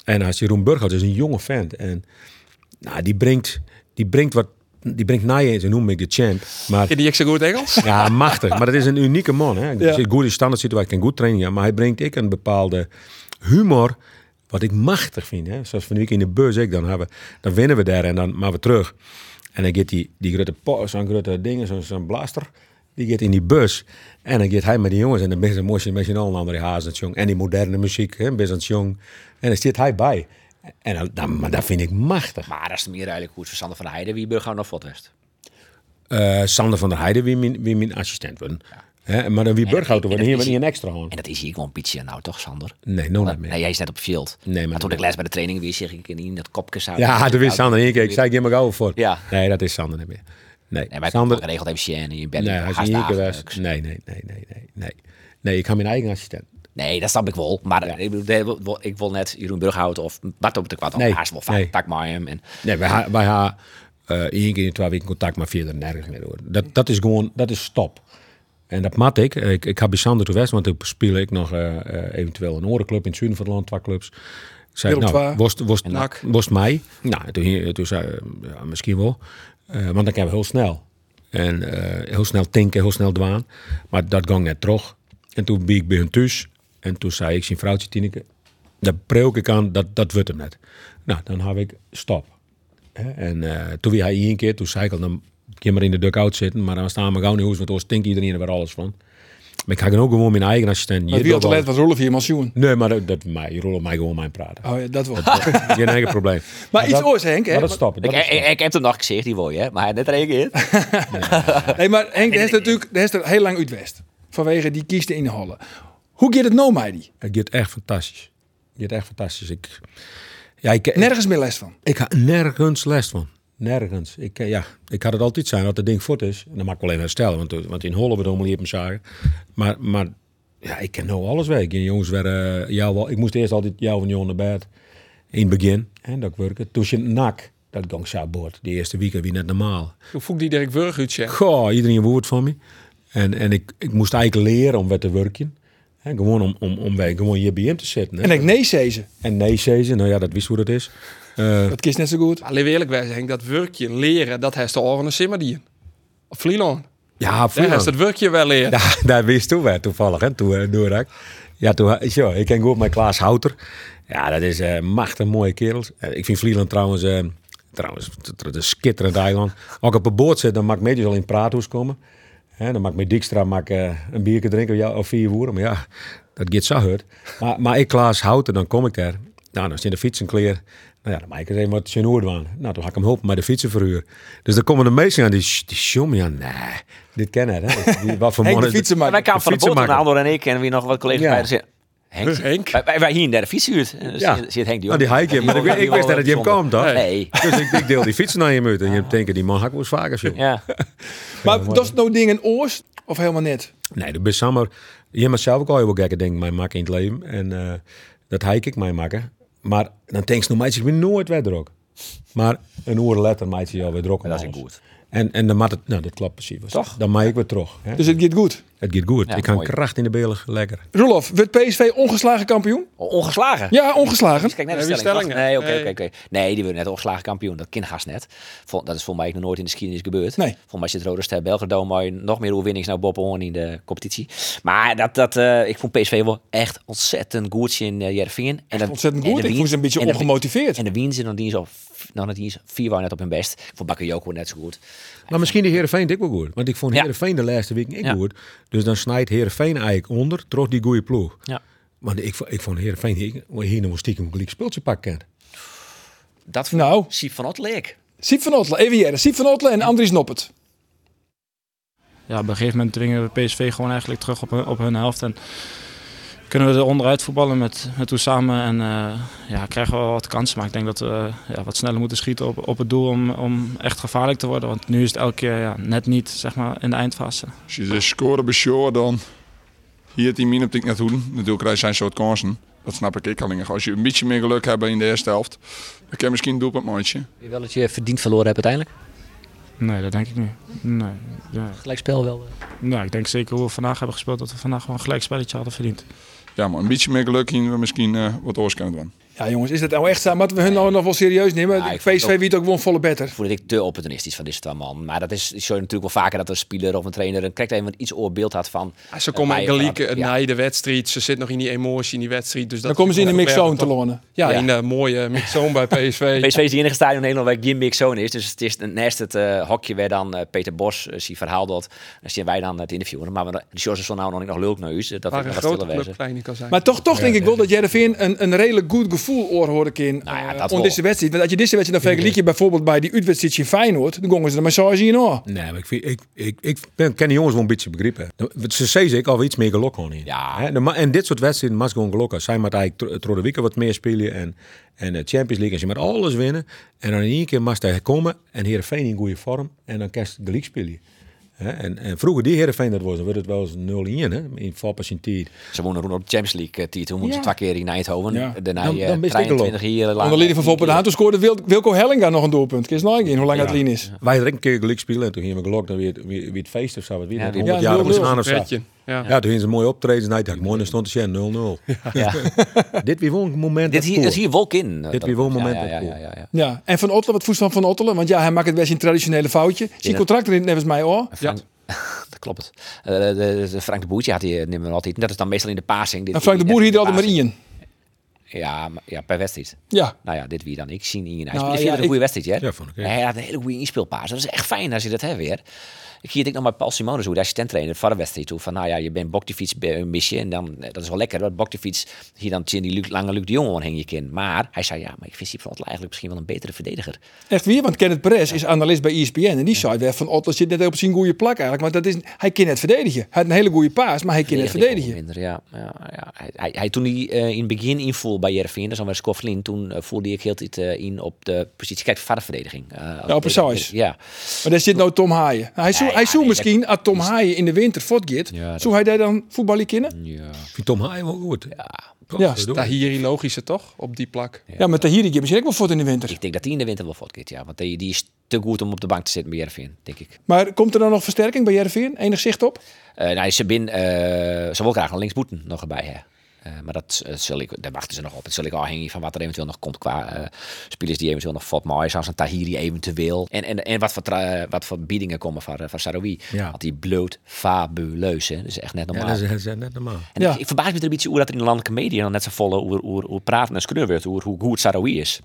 Speaker 4: En als Jeroen Burghout is een jonge fan. En nou, die brengt, die brengt wat, die brengt na je, zo noem ik de champ. Maar
Speaker 5: Ken die ik zo
Speaker 1: (laughs)
Speaker 5: goed Engels?
Speaker 4: ja, machtig. Maar dat is een unieke man. Hè.
Speaker 1: Ja.
Speaker 4: Hij zit goed in standaard situatie, kan goed trainen. Ja. Maar hij brengt ik een bepaalde humor, wat ik machtig vind. Hè. Zoals van de week in de beurs, ik dan, hebben, dan winnen we daar en dan maar we terug. En dan gaat die, die grote po- zo'n grote ding, zo'n zo'n blaster, die gaat in die bus. En dan gaat hij met die jongens en dan ben je mooi met je al een andere hazen jong. En die moderne muziek, hè, best jong. En dan zit hij bij. En dan, dan- maar dat vind ik machtig.
Speaker 7: Maar dat is meer eigenlijk hoe het voor Sander van der Heijden, wie Burger nog voor heeft.
Speaker 4: Eh, Sander van der Heijden, wie mijn, wie mijn assistent worden. Hè, maar dan wie Burghouter worden,
Speaker 7: en-
Speaker 4: hier met een extra hand.
Speaker 7: En dat is hier gewoon een beetje nou toch, Sander?
Speaker 4: Nee, nog niet meer.
Speaker 7: Nee, jij is net op veld.
Speaker 4: Nee, maar
Speaker 7: maar toen
Speaker 4: niet
Speaker 7: ik les bij de training weer zeg ik in dat kopje zou.
Speaker 4: Ja, dat wist Sander niet. Ik zei, ik maar gauw voor.
Speaker 7: Ja.
Speaker 4: Nee, dat is Sander niet meer. Nee,
Speaker 7: Nee, maar
Speaker 4: Sander,
Speaker 7: ik heb geregeld even en je bent
Speaker 4: nee, hij is niet hier geweest. Nee, nee, nee, nee, nee, nee. Nee, ik ga mijn eigen assistent.
Speaker 7: Nee, dat snap ik wel. Maar ik, bedoel, ik wil net Jeroen Burghout of Bart op de kwad.
Speaker 4: Nee,
Speaker 7: Nee, haast wel vaak.
Speaker 4: nee.
Speaker 7: Tak maar hem. En,
Speaker 4: Nee, wij, ha- wij hebben één keer in twee weken contact, maar verder nergens meer hoor. Dat, dat is gewoon, dat is stop. En dat mat ik. Ik, ik ga bij Sander toe west, want toen speel ik nog eh, eh, eventueel een orenclub in het zuiden van het land, twee clubs. Ik zei,
Speaker 1: Willem
Speaker 4: nou,
Speaker 1: II.
Speaker 4: worst, worst,
Speaker 5: NAC.
Speaker 4: worst mij. Nou, toen, hier- toen zei eh, ja, misschien wel. Eh, want dan kan we heel snel. En eh, heel snel tinken, heel snel dwaan. Maar dat ging net terug. En toen ben ik bij hun thuis. En toen zei ik, zijn vrouwtje Tineke, daar preuk ik aan, dat, dat wordt hem net. Nou, dan heb ik stop. Hè, En eh, toen weer hij één keer, toen zei ik al, dan kun je maar in de dugout zitten. Maar dan staan we gauw niet hoes, want dan stinkt iedereen er weer alles van. Maar ik ga dan ook gewoon mijn eigen assistent.
Speaker 1: Maar
Speaker 4: hier
Speaker 1: wie had
Speaker 4: wel-
Speaker 1: gelet wat Rolf hier mansioen?
Speaker 4: Nee, maar dat, dat mij, je rollen mij gewoon mijn praten.
Speaker 1: Oh ja,
Speaker 4: (laughs)
Speaker 1: dat wel.
Speaker 4: Geen eigen probleem.
Speaker 1: Maar iets
Speaker 4: dat-
Speaker 1: oors, Henk, hè?
Speaker 4: Maar dat stoppen.
Speaker 7: ik,
Speaker 4: dat is
Speaker 7: ik,
Speaker 4: stoppen.
Speaker 7: ik heb hem nog gezegd, die wil je. Maar hij net reageert.
Speaker 1: Nee, maar Henk, daar is natuurlijk daar is er heel lang uit West. Vanwege die kieste inhalen. Hoe gaat het nou, Meidi?
Speaker 4: Het gaat echt fantastisch. Het gaat echt fantastisch. Ik, ja, ik, ik,
Speaker 1: Nergens meer les van.
Speaker 4: ik had nergens les van. Nergens. Ik, eh, ja, ik had het altijd zijn dat het ding fort is. En dan mag ik wel even herstellen, want, eh, want in Holland bedoel ik hem zagen. Maar, maar ja, ik ken nou alles weg. Ik ken jongens weer, eh, jou wel. Ik moest eerst altijd jou van Jon naar bed. In het begin. En dat werken. Toen je nak, dat ging zo boord. Die eerste weekend wie net normaal.
Speaker 5: Hoe voel ik die Dirk Wurg uit, zeg?
Speaker 4: Goh, iedereen een woord van me. En, en ik, ik moest eigenlijk leren om weer te werken. Hè, gewoon om, om, om weer gewoon hier bij hem te zitten. hè.
Speaker 1: En ik nee, zei ze.
Speaker 4: En nee, Sezen, nou ja, dat wist hoe dat is. Eh,
Speaker 1: Dat kiest net zo goed.
Speaker 5: Maar laten we eerlijk zijn, Henk, dat werkje leren, dat heeft de oren simmer die. Op Vlieland.
Speaker 4: ja,
Speaker 5: Daar
Speaker 4: vroeger.
Speaker 5: heeft het werkje wel leren.
Speaker 4: Daar, (laughs) daar wist toen wel, toevallig, hè, toen eh, door ik. Ja, toen, zo, ik ken goed met Klaas Houter. Ja, dat is eh machtig mooie kerels. Eh, ik vind Vlieland trouwens, eh, trouwens, het is een schitterend eiland. Als ik op een boot zit, dan mag ik meestal al in Praathoes komen. Hè, dan mag ik met Dijkstra mag, ik, eh, een biertje drinken of, ja, of vier woorden. Maar ja, dat gaat zo hard. Maar, maar ik Klaas Houter, dan kom ik daar. Nou, dan zit de fietsenkleer. Nou ja, dan maak ik eens even wat genoerd aan. Nou, toen ga ik hem helpen met de fietsenverhuur. Dus dan komen de meesten aan, die, die jongen, ja, nee, dit kennen hè. Die- Wat voor
Speaker 1: Henk de
Speaker 4: mannen-
Speaker 1: fietsen
Speaker 7: Maar wij kwamen van de boot
Speaker 4: fietsenmaker.
Speaker 7: naar Andor en ik en wie nog wat collega's
Speaker 4: Ja.
Speaker 7: bij. Dus, Henk.
Speaker 5: Henk.
Speaker 7: Wij, wij, wij hier in de fietshuurt.
Speaker 4: Ja.
Speaker 7: Ja. Zit Henk die
Speaker 4: Nou, die hike hem, maar ik, ik wist net dat je hem kwam, toch?
Speaker 7: Nee. (laughs)
Speaker 4: Dus ik, ik deel die fiets naar je uit en je denkt, die man hak was vaker, joh.
Speaker 7: Ja.
Speaker 1: Maar dat is nou dingen oors of helemaal net?
Speaker 4: Nee, de best samen. Je mag zelf ook al heel gekke dingen mij maken in het leven. En eh, dat hike ik mij maken. Maar dan denk je, nou meisje, ik ben nooit weer druk. Maar een uur later meid je alweer druk. om
Speaker 7: dat is
Speaker 4: alles.
Speaker 7: goed.
Speaker 4: En, en dan maakt het, nou dat klopt precies. Toch? Dan maak ik weer terug. hè.
Speaker 1: Dus het gaat goed.
Speaker 4: het gaat goed.
Speaker 7: Ja,
Speaker 4: ik hang
Speaker 7: mooi.
Speaker 4: kracht in de belen, lekker.
Speaker 1: Roelof, wordt PSV ongeslagen kampioen?
Speaker 7: Ongeslagen.
Speaker 1: Ja, ongeslagen.
Speaker 7: Dus kijk naar de
Speaker 5: Nee, wie
Speaker 7: stelling.
Speaker 5: stellingen?
Speaker 7: Nee, oké,
Speaker 5: Nee.
Speaker 7: oké, oké. Nee, die worden net ongeslagen kampioen. Dat kindgas net. Vol- Dat is voor mij nog nooit in de geschiedenis gebeurd.
Speaker 1: Nee.
Speaker 7: Volgens mij zit Roda Ster Belgrado maar nog meer overwinnings nou Bob Hoorn in de competitie. Maar dat, dat, eh, ik vond PSV wel echt ontzettend goed in eh Jervingen. En dat,
Speaker 1: Ontzettend
Speaker 7: en
Speaker 1: goed. Ik
Speaker 7: de win-
Speaker 1: voel ze een beetje
Speaker 7: en de win-
Speaker 1: ongemotiveerd.
Speaker 7: En de Wiens, dan die zo, dan die is vier waren net op hun best. Ik vond Bakayoko net zo goed.
Speaker 4: Maar misschien de Herenveen ik wel goed. Want ik vond
Speaker 7: Ja.
Speaker 4: Herenveen de laatste week ik
Speaker 7: Ja.
Speaker 4: goed. Dus dan snijdt Herenveen eigenlijk onder, trots die goede ploeg.
Speaker 7: Ja.
Speaker 4: Want ik, vond- ik vond Herenveen hier, hier nog wel stiekem een gelijk speeltje pakken.
Speaker 7: Dat vond
Speaker 1: Nou,
Speaker 7: Siep van Otleek.
Speaker 1: Siep van Ottelen, even hier. Siep van Ottelen en Andries Noppert.
Speaker 8: ja, op een gegeven moment dwingen we PSV gewoon eigenlijk terug op hun, op hun helft. En kunnen we er onderuit voetballen met, met samen En eh, ja, krijgen we wel wat kansen. Maar ik denk dat we eh, ja, wat sneller moeten schieten op, op het doel om, om echt gevaarlijk te worden. Want nu is het elke keer ja, net niet zeg maar, in de eindfase.
Speaker 9: Als je de score besjoor, dan hier die min op ik naartoe. Natuurlijk krijg je zijn soort kansen. Dat snap ik ik alleen. Als je een beetje meer geluk hebt in de eerste helft, dan kan je misschien een doelpunt maatje.
Speaker 7: Wie wel dat je verdiend verloren hebt uiteindelijk?
Speaker 8: Nee, dat denk ik niet. Nee, nee.
Speaker 7: Gelijkspel wel. eh.
Speaker 8: Nou, ik denk zeker hoe we vandaag hebben gespeeld dat we vandaag gewoon een gelijkspelletje hadden verdiend.
Speaker 9: Ja, maar een beetje meer geluk in we misschien eh, wat oors kunnen doen.
Speaker 1: Ja, jongens, is dat nou echt zo? Moeten we hun nou nog wel serieus nemen?
Speaker 7: Ja, ik vind het
Speaker 1: PSV
Speaker 7: ook-
Speaker 1: wie ook gewoon volle better.
Speaker 7: voel dat ik te opportunistisch van deze twee man. Maar dat is zo natuurlijk wel vaker dat een speler of een trainer een krijgt even iets oorbeeld had van.
Speaker 5: Ja, Ah, ze
Speaker 7: eh,
Speaker 5: komen
Speaker 7: wij-
Speaker 5: gelijk
Speaker 7: ja.
Speaker 5: eh, na de wedstrijd. Ze zit nog in die emotie in die wedstrijd. Dus dat
Speaker 1: Dan komen ze in de mixzone te
Speaker 5: Ja,
Speaker 1: lonen.
Speaker 5: Ja,
Speaker 7: Ja.
Speaker 5: in de mooie mixzone
Speaker 4: (laughs)
Speaker 5: bij PSV.
Speaker 7: PSV is de enige stadion in Nederland waar Jim Big Zone is. Dus het is een- naast het eh, hokje waar dan eh, Peter Bos eh, zie verhaal dat. Dan zien wij dan het interview. Maar we- de George is nou nog niet nog lulk naar u. dus
Speaker 5: Waar
Speaker 7: Dat we
Speaker 5: een
Speaker 7: nog wat
Speaker 5: grote
Speaker 7: stiller
Speaker 5: club
Speaker 7: wezen.
Speaker 5: kleiner kan zijn.
Speaker 1: Maar toch, toch denk ik wel dat Jereveen een, een redelijk goed gevoel oorhoorde kind
Speaker 7: Nou ja,
Speaker 1: eh,
Speaker 7: dat
Speaker 1: om
Speaker 7: wel.
Speaker 1: deze wedstrijd. Want als je deze wedstrijd dan vergelijkt je bijvoorbeeld bij die uitwedstrijd in Feyenoord, dan gongen ze er maar 6 in hoor.
Speaker 4: Nee, maar ik, vind, ik, ik, ik ben, ken die jongens wel een beetje begrippen. Ze zeggen ik al iets meer geluk gewoon in.
Speaker 7: Ja.
Speaker 4: Hè, de ma- en dit soort wedstrijden mag gewoon gelukken. Zij moet eigenlijk tro- door de week wat meer spelen en, en de Champions League. En ze moet alles winnen. En dan in één keer mag hij komen en Heerenveen in goede vorm. En dan kan je de league spelen. Hè, en, en vroeger die Heerenveen dat was, dan werd het wel eens 0-1 hè, in voorpacentijd.
Speaker 7: Ze wonen rond op de Champions League eh, titel. Moeten ze twee keer in Eindhoven.
Speaker 1: Ja.
Speaker 7: Daarna
Speaker 4: Dan- dan
Speaker 7: eh,
Speaker 4: mist ik een lot.
Speaker 7: 23 hier lang.
Speaker 1: Onder leiding van Volper de Haan, toen scoorde Wil- Wilco Hellinga nog een doelpunt. Kun je eens nagaan hoe lang dat lien is.
Speaker 4: Wij er een keer gelijk spelen en toen gingen we geluk dan weer, weer, weer het feest of zo. Wat weer,
Speaker 7: Ja,
Speaker 4: ja,
Speaker 7: die-
Speaker 4: 100
Speaker 1: Ja,
Speaker 4: jaar of
Speaker 1: 0-0
Speaker 4: aan of zo.
Speaker 5: Pretje. Ja.
Speaker 4: Ja, toen ging ze mooi optreden. En hij dacht, mooi, dan stond hij 0-0. (laughs)
Speaker 7: Ja.
Speaker 4: Dit weer wel een moment
Speaker 7: Dit
Speaker 4: dat
Speaker 7: hier, dat
Speaker 4: scoort.
Speaker 7: is hier wolk in.
Speaker 4: Dit weer wel een moment
Speaker 7: Ja, ja,
Speaker 4: dat
Speaker 7: ja,
Speaker 4: scoort.
Speaker 7: ja, ja.
Speaker 1: Ja, en Van Ottelen, wat voest van Van Ottelen? Want ja, hij maakt het best een traditionele foutje. Zie
Speaker 7: Ja.
Speaker 1: contract erin, net als mij hoor.
Speaker 7: Ja. (laughs) dat klopt. Eh, de, de Frank de Boertje had die nummer altijd. Dat is dan meestal in de passing. Dit
Speaker 1: En Nou, Frank de Boer hier er altijd maar
Speaker 7: passing.
Speaker 1: in.
Speaker 7: Ja, maar- ja, per wedstrijd.
Speaker 1: Ja,
Speaker 7: Nou ja, dit wie dan? Ik zie niet in. Hij
Speaker 1: Nou,
Speaker 7: speelde
Speaker 1: ja,
Speaker 7: een goede wedstrijd, hè?
Speaker 4: Ja, vond ik ook.
Speaker 7: Hij had een hele goede inspeelpaas. Dat is echt fijn als je dat hebt weer. Ik hier denk nog maar Paul Simonis, hoe de assistenttrainer van de wedstrijd toe. Van nou ja, je bent Boktifiets misje en dan, eh, dat is wel lekker. Want Boktifiets, hier dan tjin die Luc, lange Luc de Jong aan hing je kin. Maar hij zei ja, maar ik vind Siep van Ottela eigenlijk misschien wel een betere verdediger.
Speaker 1: Echt weer, want Kenneth Perez is analist bij E ESPN. En die zei weer van Otter zit net op zijn goede plak eigenlijk. Want dat is, hij kan net verdedigen. Hij had een hele goede paas, maar hij kan net
Speaker 7: Verdediging
Speaker 1: verdedigen.
Speaker 7: minder, ja. ja, ja. Hij, hij, hij- toen hij eh, in het begin invoel bij Jervin, dat is dan weer Scofflin, toen eh, voelde ik heel de tijd eh, in op de positie. Kijk, vaderverdediging. eh, als-
Speaker 1: Ja, precies.
Speaker 7: Ja.
Speaker 1: Maar daar zit nou Tom Haaien. Hij zou,
Speaker 7: Ja,
Speaker 1: hij
Speaker 7: ja,
Speaker 1: zou
Speaker 7: nee,
Speaker 1: misschien, als Tom Haaien in de winter voortgaat,
Speaker 7: Ja, dat-
Speaker 1: zou hij daar dan voetballen kennen?
Speaker 7: ja.
Speaker 4: Ik vind Tom Haaien wel goed.
Speaker 1: Ja,
Speaker 5: Tahiri logische toch? Op die plak.
Speaker 1: Ja, maar Tahiri geeft misschien ook wel voort in de winter.
Speaker 7: Dus Ik denk dat die in de winter wel voortkeert, ja. Want die, die is te goed om op de bank te zitten bij Jervin, denk ik.
Speaker 1: Maar komt er dan nog versterking bij Jervin? Enig zicht op?
Speaker 7: Eh nou, Sabin eh zou wel graag een linksboeten nog erbij hebben. Eh, maar dat, eh, zal ik, daar wachten ze nog op. Het zal ik afhangen van wat er eventueel nog komt qua eh, spelers die eventueel nog voortmaaien. Zoals een Tahiri eventueel. En, en, en wat, voor, tra- eh, wat voor biedingen komen van, eh, van Saroui.
Speaker 4: Ja.
Speaker 7: Want die bloot fabuleus. Hè. Dat is echt net normaal.
Speaker 4: Ja, dat is- dat is net normaal.
Speaker 7: En
Speaker 1: Ja.
Speaker 7: ik, ik verbaas me er een beetje hoe dat er in de landelijke media dan net zo volle hoe, hoe, hoe praten en schreeuwen wordt, hoe, hoe goed Saroui is.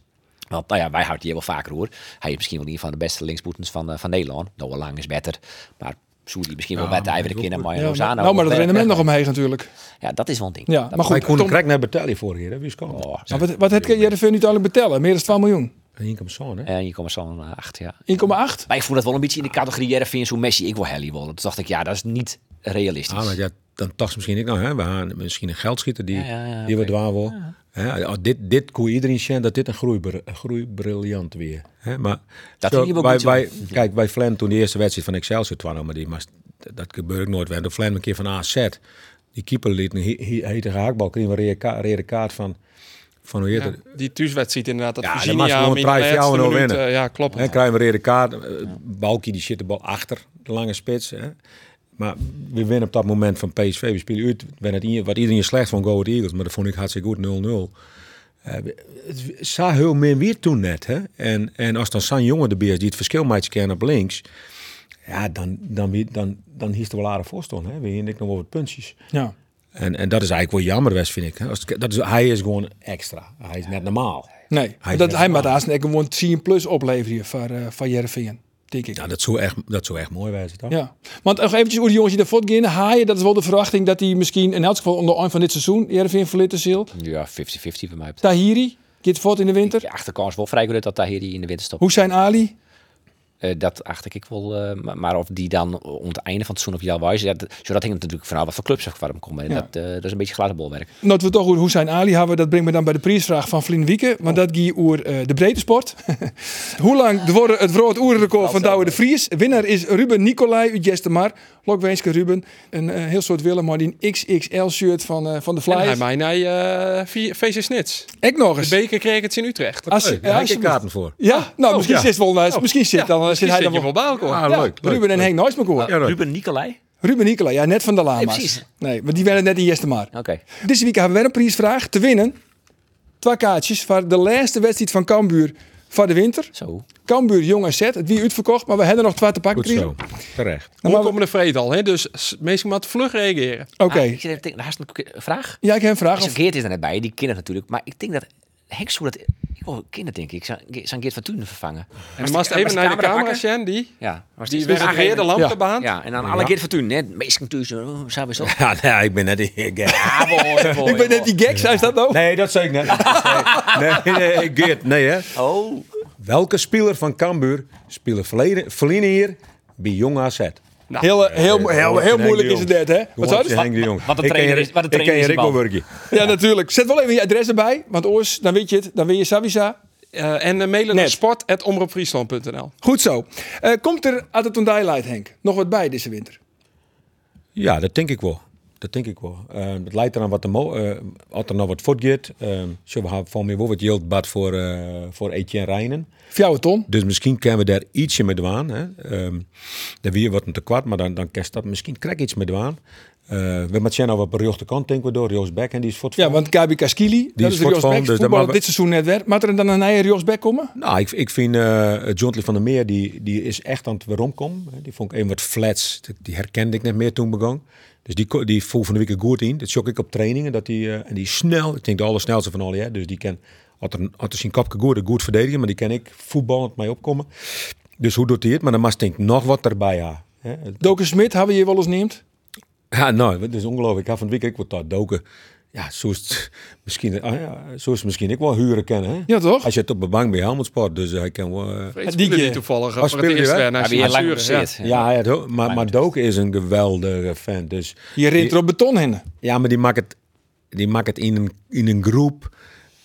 Speaker 7: Want nou ja, wij houden die wel vaker hoor. Hij is misschien wel een van de beste linksboetens van, eh, van Nederland. Noah Lang is beter, maar Soeri misschien wel beter. Hij de kinderen, maar
Speaker 1: Ja,
Speaker 7: Lozano.
Speaker 1: nou, maar
Speaker 7: ook
Speaker 1: dat
Speaker 7: wel-
Speaker 1: rendement nog omheen natuurlijk.
Speaker 7: eh, Ja, dat is wel een ding.
Speaker 1: Ja, maar
Speaker 7: dat,
Speaker 4: Hij
Speaker 1: goed.
Speaker 4: kon
Speaker 1: Tom,
Speaker 4: een krek naar betalen vorige keer. hè? Wie is komen?
Speaker 7: Oh,
Speaker 1: maar wat, wat heb Jervin nu uiteindelijk betellen? Meer dan 12 miljoen.
Speaker 4: En hier komt zo'n, hè?
Speaker 7: en hier komen zo'n eh, acht, ja.
Speaker 1: 1,8?
Speaker 7: Maar ik voel dat wel een beetje in de categorie Jervin, zo'n Messi, ik wil Helly wel. Dat dacht ik, ja, dat is niet realistisch.
Speaker 4: Ah, maar ja, dan dacht misschien ik, nou, hè, we gaan misschien een geldschieter die,
Speaker 7: Ja, ja, ja,
Speaker 4: die we
Speaker 7: oké.
Speaker 4: dwaan wil. Hè, oh, dit, dit kon iedereen zien dat dit een groeibr- een groeibriljant weer. Hè, maar
Speaker 7: Dat
Speaker 4: zo,
Speaker 7: ging hem ook
Speaker 4: wij,
Speaker 7: niet zo.
Speaker 4: wij, Kijk, wij Flan toen de eerste wedstrijd van Excelsior twaalf, maar die maar dat gebeurde ook nooit. We hadden Flan een keer van AZ. Die keeper liet een he- he- hete haakbal, kreeg een rode ka- rode kaart van, van hoe heet het?
Speaker 5: Die thuiswedstrijd inderdaad. Dat
Speaker 4: Ja,
Speaker 5: ja,
Speaker 4: dan
Speaker 5: Virginia
Speaker 4: mag je gewoon
Speaker 5: hem in de
Speaker 4: drie, vier
Speaker 5: laatste
Speaker 4: nou
Speaker 5: minuut,
Speaker 4: winnen.
Speaker 5: eh, ja, klopt.
Speaker 4: Hè, krijgen we een rode kaart. Balkie die zit de bal achter de lange spits. Hè. Maar we winnen op dat moment van PSV. We spelen uit. Ben het in, wat iedereen slecht vond, Go Ahead Eagles. Maar dat vond ik hartstikke goed, 0-0. Eh, het zag heel meer weer toen net. Hè. En, en als dan San Jongen de beer is die het verschil maakt kennen op links. Ja, dan, dan, wie- dan, dan hiest er wel aardig voor staan, hè. We hielden ik nog wel wat puntjes.
Speaker 1: Ja.
Speaker 4: En, en dat is eigenlijk wel jammer, West, vind ik. hè. Als het- dat is, hij is gewoon extra. Hij is net normaal.
Speaker 1: Nee,
Speaker 4: Hij
Speaker 1: dat,
Speaker 4: is
Speaker 1: hij
Speaker 4: wel-
Speaker 1: maakt haast een gewoon 10 plus opleveren van, eh van Jervin, denk ik.
Speaker 4: Ja, Nou, dat zou echt, dat zou echt mooi zijn, toch?
Speaker 1: Ja, want nog eventjes hoe die jongens die daarvoor gaan, haaien, dat is wel de verwachting dat hij misschien in elk geval onder eind van dit seizoen Jervin verlitten zal.
Speaker 7: Ja, 50-50 bij mij.
Speaker 1: Tahiri, gaat voort in de winter.
Speaker 7: De achterkans wel vrij goed dat Tahiri in de winter stopt.
Speaker 1: Hoe zijn Ali?
Speaker 7: Eh, dat achter ik wel. eh, maar, maar of die dan om het einde van het seizoen op jouw wijze. Ja, dat, zo dat hangt natuurlijk vanaf wat voor clubs er voor hem komen. En
Speaker 1: Ja.
Speaker 7: dat, eh, dat is een beetje glazen bolwerk.
Speaker 1: Nou, we toch hoe zijn Ali hebben, dat brengt me dan bij de prijsvraag van Vlien Wieken. Want dat ging over eh, de breedte sport. (laughs) hoe lang worden het Vrood Oerenrecord van Douwe de Vries? Winnaar is Ruben Nicolai uit Gestemar. Lokwenske Ruben. Een eh, heel soort Willem, maar die XXL-shirt van, eh, van de
Speaker 5: En hij
Speaker 1: Flyers.
Speaker 5: mij naar eh, vi- VC Snits.
Speaker 1: Ik nog
Speaker 5: De
Speaker 4: Dus-
Speaker 1: eens.
Speaker 5: beker kreeg het in Utrecht.
Speaker 1: Als-
Speaker 4: Hey, daar heb ik
Speaker 1: alsjeblieft.
Speaker 4: kaarten voor.
Speaker 1: Ja,
Speaker 5: Oh,
Speaker 1: nou, misschien
Speaker 4: ja.
Speaker 1: zit wel nou, Misschien zit, dan, zit hij
Speaker 5: zit
Speaker 1: dan
Speaker 5: je wel bij elkaar.
Speaker 4: Ah,
Speaker 1: Ja,
Speaker 4: leuk, leuk,
Speaker 1: Ruben en
Speaker 4: leuk.
Speaker 1: Henk Nooismakhoor.
Speaker 4: Ja, leuk.
Speaker 7: Ruben Nicolai?
Speaker 1: Ruben Nicola, ja, net van de Lama's.
Speaker 7: Nee, precies.
Speaker 1: Nee, maar die werden net in Jestemaar.
Speaker 7: Oké.
Speaker 1: Deze week hebben we weer een prijsvraag te winnen. Twee kaartjes voor de laatste wedstrijd van Cambuur van de winter.
Speaker 7: Zo.
Speaker 1: Cambuur jong en zet, het wie uitverkocht, maar we hebben er nog twee te pakken
Speaker 4: Goed zo.
Speaker 1: gekregen.
Speaker 4: Terecht.
Speaker 1: Nou,
Speaker 5: Hoe
Speaker 1: maar we-
Speaker 5: komen de vrede al, hè? Dus s- meestal maar vlug reageren.
Speaker 1: Oké,
Speaker 7: Ah, ik zit even te denken, daar is een vraag.
Speaker 1: ja, ik heb een vraag.
Speaker 7: Zo'n
Speaker 1: Of,
Speaker 7: Geert is er net bij, die kinderen natuurlijk. Maar ik denk dat Henk hoe dat... Ik wil kinderen, denk ik. Zijn zijn Geert van Tunen vervangen.
Speaker 5: En dan even naar de camera, Sjen, die.
Speaker 7: Ja. Was Ah,
Speaker 5: Die weer de
Speaker 1: Ja.
Speaker 5: lampenbaan.
Speaker 7: Ja, en dan alle Geert van Tunen. hè. Meestal tussen. Oh, zo is dat.
Speaker 4: (laughs) Ja, nee, (laughs) ik ben net die gek.
Speaker 7: Ah,
Speaker 1: (laughs)
Speaker 7: mooi, mooi,
Speaker 1: ik ben net
Speaker 7: mooi.
Speaker 1: die gek, zei dat nou?
Speaker 4: Nee, dat zei ik net. (laughs) Nee, nee, nee, Geert, nee hè.
Speaker 7: Oh.
Speaker 4: Welke speler van Cambuur speelde verleden, verleden hier bij Jong AZ?
Speaker 7: Nou,
Speaker 1: Heel, eh, heel, heel, heel,
Speaker 4: Hoortje Henk
Speaker 1: moeilijk
Speaker 4: de
Speaker 1: is het
Speaker 4: Jong.
Speaker 1: dat, hè? Wat zou
Speaker 4: Hoortje
Speaker 1: dat?
Speaker 4: Henk de Jong.
Speaker 7: wat de
Speaker 4: Ik ken
Speaker 7: trainer
Speaker 4: je-
Speaker 7: is- wat
Speaker 4: Ik
Speaker 7: de
Speaker 4: ken
Speaker 7: trainer is
Speaker 4: Rick
Speaker 7: die bal.
Speaker 4: Wolwerkie.
Speaker 1: Ja, natuurlijk. Zet wel even je adres erbij, want oors, dan weet je het. Dan weet je Savisa.
Speaker 5: Eh, en eh, mailen naar
Speaker 1: Net.
Speaker 5: sport.omroepfriesland.nl.
Speaker 1: Goed zo. Eh, komt er uit het Light, Henk, nog wat bij deze winter?
Speaker 4: Ja, dat denk ik wel. Dat denk ik wel. Eh, het lijkt eraan wat, de mo- eh, wat er nog wat voortgeeft. Eh, zo, we gaan van meer wel wat jeldbad voor, eh, voor Etienne Rijnen.
Speaker 1: Voor jou, Ton.
Speaker 4: Dus misschien kunnen we daar ietsje mee doen. Hè. Ehm dan weer wat een tekort, maar dan, dan kan dat misschien krijg ik iets mee doen. Eh we moeten nou wat beruchte kant denken we door Joost Beck en die is voor het
Speaker 1: Ja, want Gabi Kaskili, dat
Speaker 4: is
Speaker 1: is de Jos
Speaker 4: voortvallen,
Speaker 1: Beck,
Speaker 4: dus dat
Speaker 1: voetballer
Speaker 4: mag-
Speaker 1: dit seizoen net werd. Maakt er dan een nieuwe Jos Beck komen?
Speaker 4: Nou, ik, ik vind eh John van der Meer, die, die is echt aan het weeromkomen. Die vond ik even wat flats. Die- Die herkende ik net meer toen begon. Dus die, ko- die voel van de week goed in. Dat zoek ik op trainingen. Dat die, eh, en die is snel, ik denk de allersnelste van alle. Hè? Dus die kan, had er, had er zijn kopje goed, goed verdedigen. Maar die kan ik voetballend mee opkomen. Dus hoe doet hij het? Maar dan mag denk ik nog wat erbij ja. Hè?
Speaker 1: Doken Smit hebben we hier wel eens neemt.
Speaker 4: Ja, nou, dat is ongelooflijk. Ik had van het weekend ook wat daar doken. Ja, zo is het misschien, ah ja, zo is het misschien ik wel huren kennen. Hè?
Speaker 1: Ja, toch?
Speaker 4: Als je het op de bank bij Helmond sport, dus hij kan wel... eh,
Speaker 5: Vreed speelde
Speaker 1: keer.
Speaker 5: die toevallig.
Speaker 4: Oh,
Speaker 5: Voor het
Speaker 4: speelde
Speaker 5: eerst
Speaker 4: die, hè?
Speaker 5: weer na
Speaker 7: Heb je
Speaker 5: zijn
Speaker 7: heel lang
Speaker 5: blessure. Ja.
Speaker 7: geblesseerd.
Speaker 4: Ja, hij had ook- maar, maar Doke is een geweldige fan. Dus,
Speaker 1: Je rint er op beton heen.
Speaker 4: ja, maar die maakt het, die maakt het in, een, in een groep.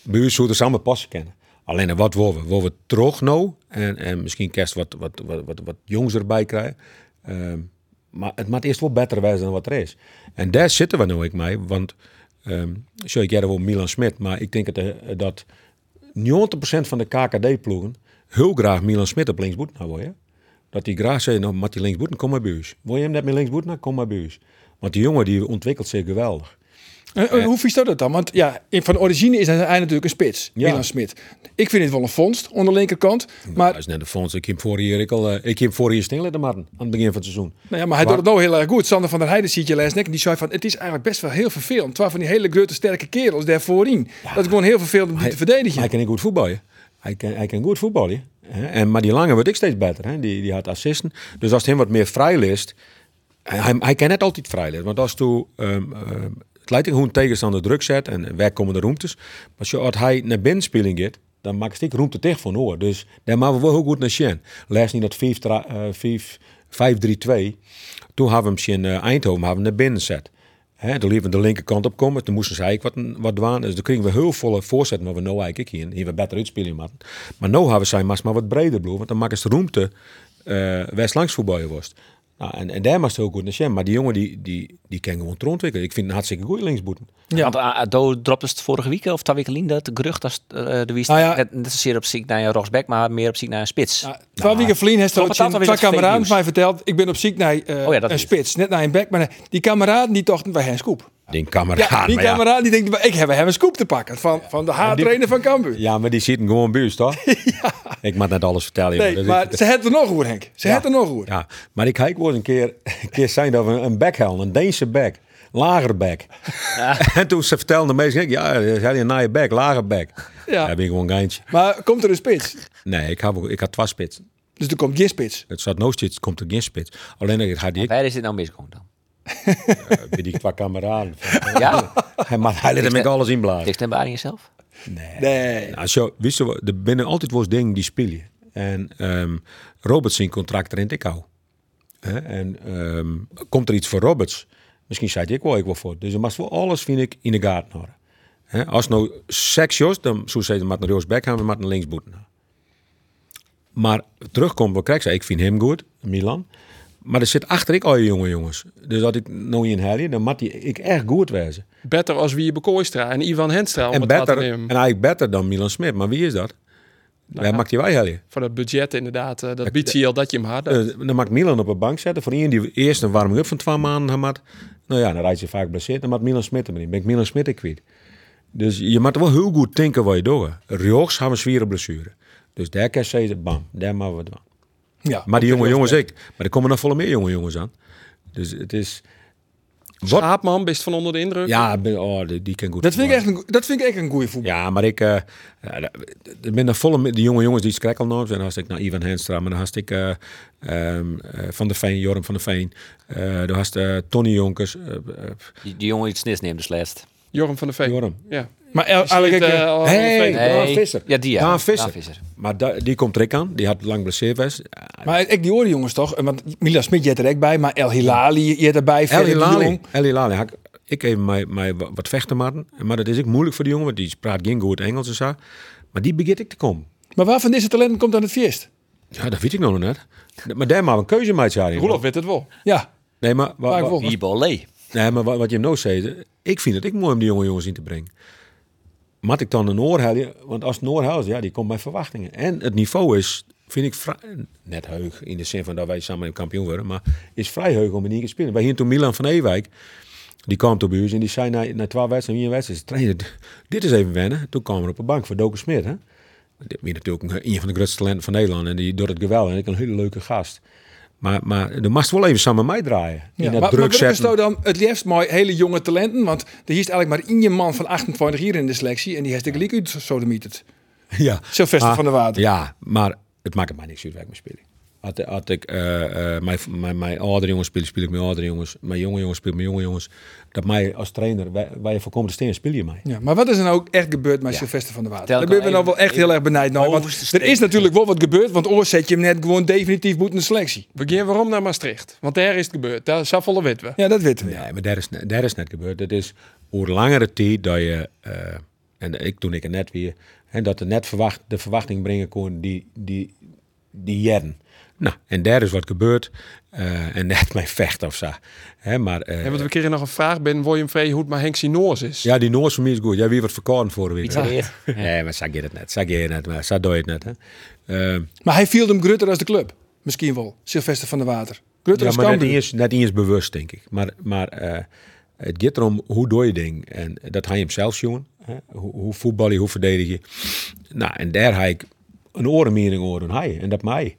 Speaker 4: Bij u zouden ze allemaal passen kennen. Alleen wat worden we? Worden we terug nou? En, en misschien kerst wat, wat, wat, wat, wat jongs erbij krijgen. Ehm, maar het moet eerst wel beter wijzen dan wat er is. En daar zitten we nou ik mee. Want ehm zo, ik jaren wel Milan Smit. Maar ik denk dat, eh, dat 90% van de KKD-ploegen heel graag Milan Smit op linksboet nou wil je. Dat die graag zei, nou, Mattie linksboeten, kom maar bij ons. Wil je hem net met linksboeten? Nou, kom maar bij ons. Want die jongen die ontwikkelt zich geweldig.
Speaker 1: Eh, eh, hoe vies dat dat dan? Want ja, in- van origine is hij natuurlijk een spits,
Speaker 4: Ja.
Speaker 1: Milan Smit. Ik vind het wel een vondst, onder de linkerkant. Maar,
Speaker 4: Hij is net een fonds. Ik heb vorig jaar, ik al, eh, ik heb vorig jaar stil laten maken aan het begin van het seizoen.
Speaker 1: nou ja, maar hij doet het nou heel erg goed. Sander van der Heijden ziet je les nek. Die zei van, het is eigenlijk best wel heel vervelend. Twee van die hele grote sterke kerels daar voorin. Dat is gewoon heel vervelend om die te verdedigen.
Speaker 4: Hij kan niet goed voetballen. Hij kan, hij kan goed voetballen. hè. En, maar die lange wordt ik steeds beter. Hè? Die, die had assisten. Dus als het hem wat meer vrij list. Hij, hij kan net altijd vrij list. Want als toe, ehm ehm, het lijkt hoe een tegenstander druk zet en weg komen de ruimtes. Maar zo, als hij naar binnen spelen gaat, dan maakt ik ruimte tegen van hoor. Dus daar maken we wel heel goed naar Shen. Lees niet dat 5 tra- eh, 5 5-3-2. Toen hadden we hem in eh, Eindhoven hadden we hem naar binnen gezet. Hè, er liepen de linkerkant op komen. Toen moesten ze eigenlijk wat, wat dwaan. Dus dan kregen we heel volle voorzetten. Maar we nou eigenlijk hier, hier we beter uitspelen. Maar, maar nou hebben we zijn mas maar wat breder bloed. Want dan maken ze ruimte eh west langs voorbij was. Nou, en, en daar was het heel goed naar zien. Maar die jongen die, die, die kan gewoon trontwikkelen. Ik vind het een hartstikke goede linksboeten.
Speaker 7: Want ah, Ado dropte het vorige week of twee weken geleden dat de gerucht als eh, de wiest
Speaker 1: Nou ja.
Speaker 7: net, net zozeer op ziek naar een rechtsback, maar meer op ziek naar een spits.
Speaker 1: Nou, Twee weken vliegen heeft er
Speaker 7: klopt het
Speaker 1: een
Speaker 7: dat
Speaker 1: twee
Speaker 7: alweer dat fake
Speaker 1: kameraden
Speaker 7: news?
Speaker 1: mij verteld. Ik ben op ziek naar eh,
Speaker 4: Oh
Speaker 7: ja, dat
Speaker 1: een
Speaker 7: is.
Speaker 1: spits, net naar een back. Maar nee, die kameraden die dachten, wij hebben een scoop.
Speaker 4: Die kameraad.
Speaker 1: Ja, die
Speaker 4: maar ja.
Speaker 1: kameraden die denken, ik heb, we hebben een scoop te pakken van, van de haattrainer van Cambuur.
Speaker 4: Ja, maar die zitten gewoon buurt, toch?
Speaker 1: (laughs)
Speaker 4: Ik mag net alles vertellen. jongen.
Speaker 1: Nee,
Speaker 4: Dat
Speaker 1: maar
Speaker 4: is-
Speaker 1: ze had er nog over, Henk. Ze had er nog over.
Speaker 4: Ja, maar ik kijk wel eens een keer, (laughs) een keer zijn dat we een bek halen, een Deense bek, lager bek. (laughs) En toen ze vertelden de mensen, ik, ja, ze hadden een naaie bek, lager bek.
Speaker 1: Ja.
Speaker 4: Ja. Daar ben ik gewoon geintje.
Speaker 1: Maar komt er een spits?
Speaker 4: Nee, ik had, ik had twee spits.
Speaker 1: Dus er komt geen spits.
Speaker 4: Het zat nog steeds, komt er geen spits. Alleen ik had ik
Speaker 7: Waar is dit nou misgekomen dan?
Speaker 4: bij die twee kameraden.
Speaker 7: Ja?
Speaker 4: Hij- Maar hij liet hem ik alles inblazen.
Speaker 7: Ligt ten Baring zelf?
Speaker 1: Nee.
Speaker 4: Nou, zo, wist je, wel, er binnen altijd wel eens dingen die spelen. En ehm Roberts zijn contract rent ik hou. Hè, En ehm, komt er iets voor Roberts? Misschien zei ik wel ik wel voor. Dus je mag wel alles, vind ik, in de gaten houden. Hè, Als nou seks Jos, dan zou ze maar naar Joost Beck gaan, maar naar links boeten. Maar terugkomt wel krijg ze, ik vind hem goed, Milan. Maar er zit achter ik al je jonge jongens. Dus dat ik nou in helje, dan moet die ik echt goed wezen.
Speaker 5: Better als wie Bekooistra en Ivan Henstra. Om
Speaker 4: En,
Speaker 5: het
Speaker 4: better,
Speaker 5: te
Speaker 4: en
Speaker 5: nemen.
Speaker 4: eigenlijk beter dan Milan Smit. Maar wie is dat? Wij maakt die wij helje.
Speaker 5: Voor dat budget inderdaad. eh, dat biedt je al dat je hem had. Dat-
Speaker 4: Eh, dan maakt Milan op een bank zetten. Voor iemand die eerst een warming-up van twee maanden had. Nou ja, dan rijdt ze vaak geblesseerd. Dan maakt Milan Smit hem in. Ben ik Milan Smit ik kwijt. Dus je moet wel heel goed denken wat je doet. Riochs hebben zware blessure. Dus daar kan je zeggen, bam, daar maken we het van.
Speaker 1: Ja,
Speaker 4: Maar die jonge jongens ik. Maar er komen nog volle meer jonge jongens aan. Dus het is... Wat?
Speaker 5: Schaapman, best van onder de indruk.
Speaker 4: Ja, ik ben- oh, die, die kan goed.
Speaker 1: Dat vind ik
Speaker 4: voetballen.
Speaker 1: echt een, dat vind ik echt een goede voetbal.
Speaker 4: Ja, maar ik... eh ja, dat- er ben nog volle... met- Die jonge jongens die skrekkel noemen. Dan had ik naar Ivan Henstra. Maar dan had ik eh, ehm, eh, Van der Veen, Jorm van der Veen. eh dan had eh Tony Jonkers. eh, eh,
Speaker 7: Die, die jongen iets snis neemt dus laatst.
Speaker 5: Jorm van der Veen.
Speaker 4: Jorm.
Speaker 5: Ja.
Speaker 1: Maar El- eigenlijk,
Speaker 5: Zit,
Speaker 1: eh,
Speaker 5: eh, al-
Speaker 4: Hey,
Speaker 5: Veen.
Speaker 7: Nee.
Speaker 4: Daan Visser.
Speaker 7: Ja, die, ja.
Speaker 4: Daan Visser.
Speaker 7: Daan Visser.
Speaker 4: Maar da- die komt er ik aan. Die had lang blesseerd Eh, was.
Speaker 1: maar ik die hoorde jongens toch, eh, want Mila Smit je had er ook bij, maar El Hilali je had erbij.
Speaker 4: El
Speaker 1: Ferry de
Speaker 4: Hilali.
Speaker 1: Jong.
Speaker 4: El Hilali. had ik- Ik even mij, mij wa- wat vechten maken. Maar dat is ook moeilijk voor die jongen. Want die praat geen goed Engels en zo. Maar die begint ik te komen.
Speaker 1: Maar waar van deze talenten komt aan het feest?
Speaker 4: Ja, dat weet ik nog net. Maar daar maar een keuze mee te maken.
Speaker 5: Roelof weet het wel.
Speaker 1: Ja,
Speaker 4: Nee, maar, wa-
Speaker 1: vaak
Speaker 4: wa-
Speaker 1: volgens.
Speaker 7: Ibolé.
Speaker 4: nee, maar wat, wat je hem nou zei. Ik vind het ik mooi om die jonge jongens in te brengen. Mat ik dan een oorhelje? Want als het een oorhel is, ja, die komt bij verwachtingen. En het niveau is, vind ik, vrij, net heug. In de zin van dat wij samen kampioen worden. Maar is vrij heug om in één keer te spelen. Wij hier toen Milan van Ewijk. Die kwam tot buurt en die zei na, na twaalf wedstrijden, wie een wedstrijd, trainer, (laughs) dit is even wennen. Toen kwam er op een bank voor Doken Smit. Hè? Dit is natuurlijk een, een van de grootste talenten van Nederland. En die doet het geweldig. En ik een hele leuke gast. Maar, maar de mast wel even samen met mij draaien.
Speaker 1: Ja,
Speaker 4: in dat
Speaker 1: maar,
Speaker 4: druk
Speaker 1: maar Grubbes
Speaker 4: zetten.
Speaker 1: nou dan het liefst maar hele jonge talenten? Want er is eigenlijk maar één man van 28 hier in de selectie. En die heeft de gelijk uit sodemieterd.
Speaker 4: ja.
Speaker 1: Sylvester van der Water.
Speaker 4: Ja, maar het maakt mij niks uit waar ik mee speel. Had, had ik eh, eh, mijn, mijn, mijn oudere jongens spelen, speel ik met oudere jongens. Mijn jonge jongens speel ik met jonge jongens. Dat mij als trainer, wij, wij voorkomen de steen, speel je mij.
Speaker 1: Ja, maar wat is er nou ook echt gebeurd met Sylvester van der Water?
Speaker 7: Tel
Speaker 1: Daar
Speaker 7: ik
Speaker 1: ben
Speaker 7: al
Speaker 1: ik nou
Speaker 7: even-
Speaker 1: wel echt heel erg benijd naar. Want
Speaker 7: Overste
Speaker 1: er is natuurlijk wel wat gebeurd, want oor zet je hem net gewoon definitief boeten de selectie.
Speaker 5: We gaan waarom naar Maastricht. Want daar is het gebeurd. Daar Saffolle weten we.
Speaker 1: Ja, dat weten we.
Speaker 4: Nee, maar daar is, daar is net gebeurd. Dat is hoe langere tijd dat je, eh, en ik toen ik er net weer, hè, dat er net verwacht, de verwachting brengen kon die, die, die jaren. Nou, en daar is wat gebeurd. eh, en (laughs) net mijn vecht of zo. Hè, maar, eh,
Speaker 5: En want we keren nog een vraag ben William Vree hoe het maar Henk Sinoors is.
Speaker 4: ja, die Noors voor mij is goed. Jij wie wat verkouden voor week. hè?
Speaker 7: Ja.
Speaker 4: Nee, maar zag je het net. Zag je het net. Maar zo doe je het net. Hè. Ehm,
Speaker 1: Maar hij viel hem grutter als de club. Misschien wel, Sylvester van der Water. Grutter
Speaker 4: ja,
Speaker 1: als
Speaker 4: maar net niet,
Speaker 1: Cambuur.
Speaker 4: eens, net niet eens bewust, denk ik. Maar, maar eh, het gaat erom hoe doe je ding. En dat hij hem zelf jongen. Hè? Hoe, hoe voetbal je, hoe verdedig je. Nou, en daar heb ik een orenmering over aan hij. En dat mij.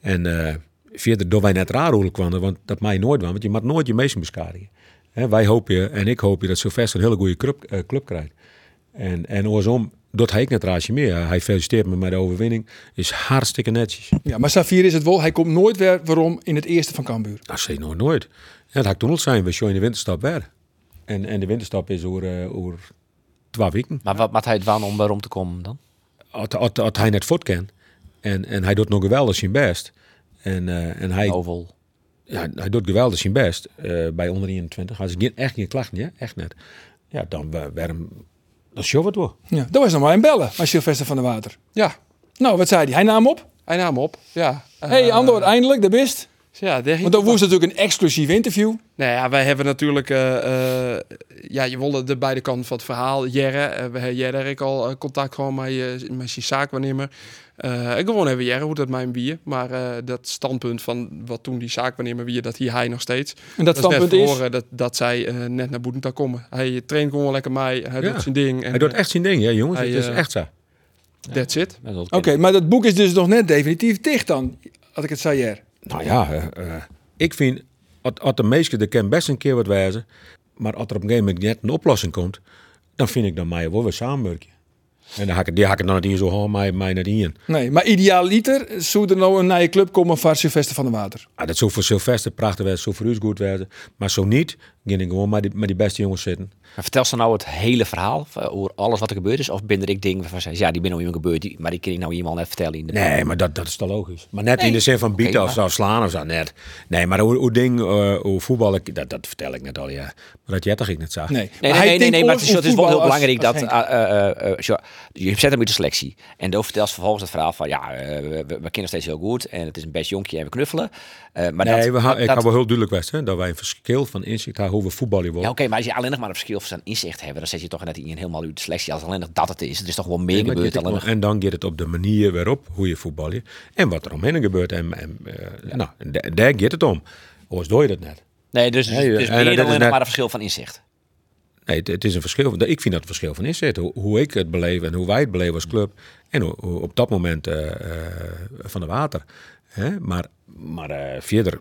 Speaker 4: En eh verder door wij net raar hoe kwamen. Want dat mij nooit kwam. Want je mag nooit je meesten beschadigen. Hè, wij hopen je, en ik hoop je, dat Sylvester een hele goede club, eh, club krijgt. En, en oorsom, dat hij ik net raasje meer. Hij feliciteert me met de overwinning. Is hartstikke netjes.
Speaker 1: Ja, maar Safir is het wel. Hij komt nooit weer waarom in het eerste van Cambuur.
Speaker 4: Nou, zei nog nooit. Ja, dat had ik toen al zijn. We zijn in de winterstap weer. En, en de winterstap is over, eh, over twee weken.
Speaker 7: Maar wat maakt hij het waan om waarom te komen dan?
Speaker 4: Had, had, had
Speaker 5: Nou.
Speaker 4: hij net voort kan. En, en hij doet nog geweldig zijn best. En, eh, en hij,
Speaker 7: Oval.
Speaker 4: ja, hij doet geweldig zijn best eh, bij onder 21. Als ik echt geen klachten, ja, echt net. Ja, dan uh, waarom... Dan show het wel.
Speaker 1: Ja, dat was nog maar een bellen aan Sylvester van der Water.
Speaker 5: Ja,
Speaker 1: Nou, wat zei hij? Hij nam op.
Speaker 5: hij nam op. Ja. Eh, dus
Speaker 1: hey, Andor, eindelijk, daar bist.
Speaker 5: Ja, daar
Speaker 1: Want dat was natuurlijk een exclusief interview.
Speaker 5: Nou ja, wij hebben natuurlijk... eh, eh, ja, je wilde de beide kanten van het verhaal. Jerre, eh, we hebben Jerre ik al eh, contact gewoon met, je met zijn zaakwaarnemer. Eh, en gewoon hebben Jerre, hoe dat mijn bier. Maar eh, dat standpunt van wat toen die zaakwaarnemer wie dat hier hij nog steeds.
Speaker 1: En dat,
Speaker 5: Dat is net
Speaker 1: standpunt is...
Speaker 5: verhoren dat, dat zij eh, net naar Boedenta komen. Hij traint gewoon lekker mij, hij
Speaker 4: Ja.
Speaker 5: doet zijn ding. En, eh,
Speaker 4: Hij doet echt zijn ding, ja jongens.
Speaker 5: hij,
Speaker 4: het is
Speaker 5: eh,
Speaker 4: echt zo.
Speaker 5: eh, That's it.
Speaker 7: Dat is wel
Speaker 1: Oké, maar dat boek is dus nog net definitief dicht dan, had ik het zei hier.
Speaker 4: Nou ja, eh, eh, ik vind, als- als de meesten, er kan best een keer wat wijzen, maar als er op een gegeven moment net een oplossing komt, dan vind ik dan mij wel weer samenwerken. En dan hak ik, die hak ik dan niet in zo hoor, mij, mij naar in.
Speaker 1: Nee, maar idealiter zou er nou een nieuwe club komen van Sylvester van der Water.
Speaker 4: Ah, dat zou voor Sylvester prachtig zijn, zou voor u goed zijn. Maar zo niet, ging ik gewoon met die, met die beste jongens zitten.
Speaker 7: Maar vertel ze nou het hele verhaal eh, over alles wat er gebeurd is? Of binnen ik dingen waarvan ze ja, die ben nou iemand gebeurd, die- maar die kan ik nou iemand net vertellen in de
Speaker 4: Nee, maar dat, dat is toch logisch. Maar net in de zin van bieten of zo, slaan of zo, net. Nee, maar hoe, hoe ding, eh, hoe voetbal, ik, dat, dat vertel ik net al, ja. Maar dat jij toch ik net zag.
Speaker 1: Nee,
Speaker 7: Nee,
Speaker 1: hij
Speaker 7: nee, nee, nee,
Speaker 1: denkt
Speaker 7: maar
Speaker 1: oors
Speaker 7: het is, het is wel
Speaker 1: voetbal
Speaker 7: heel
Speaker 1: als-
Speaker 7: belangrijk
Speaker 1: als
Speaker 7: dat
Speaker 1: Henk.
Speaker 7: eh, eh, eh, zo- je zet hem uit de selectie. En dan vertelt ze vervolgens het verhaal van ja, eh, we, we- we kennen nog steeds heel goed en het is een best jonkje en we knuffelen. Eh, maar
Speaker 4: Nee,
Speaker 7: dat,
Speaker 4: we ha-
Speaker 7: dat-
Speaker 4: ik
Speaker 7: dat-
Speaker 4: had wel heel duidelijk was, hè, dat wij een verschil van inzicht hebben hoe we voetballen
Speaker 7: ja,
Speaker 4: worden.
Speaker 7: oké, maar als je alleen nog maar een verschil van inzicht hebt, dan zet je toch net in helemaal uit de selectie. Als alleen nog dat het is, er is toch wel meer
Speaker 4: En dan
Speaker 7: gebeurd.
Speaker 4: gaat het
Speaker 7: Alleen nog,
Speaker 4: om- en dan gaat het op de manier waarop hoe je voetbal je en wat er omheen gebeurt. En, en, eh, nou, en da- daar gaat het om. Anders doe je dat net.
Speaker 7: nee, dus, dus
Speaker 4: Nee,
Speaker 7: meer
Speaker 4: eh, dat
Speaker 7: dan
Speaker 4: is
Speaker 7: alleen nog
Speaker 4: net-
Speaker 7: maar een verschil van inzicht.
Speaker 4: Nee, het, het is een verschil. van- Ik vind dat het verschil van inzet. Hoe, hoe ik het beleef en hoe wij het beleven als club. En hoe, hoe op dat moment eh, eh, van de water. Hè? Maar, maar eh, verder,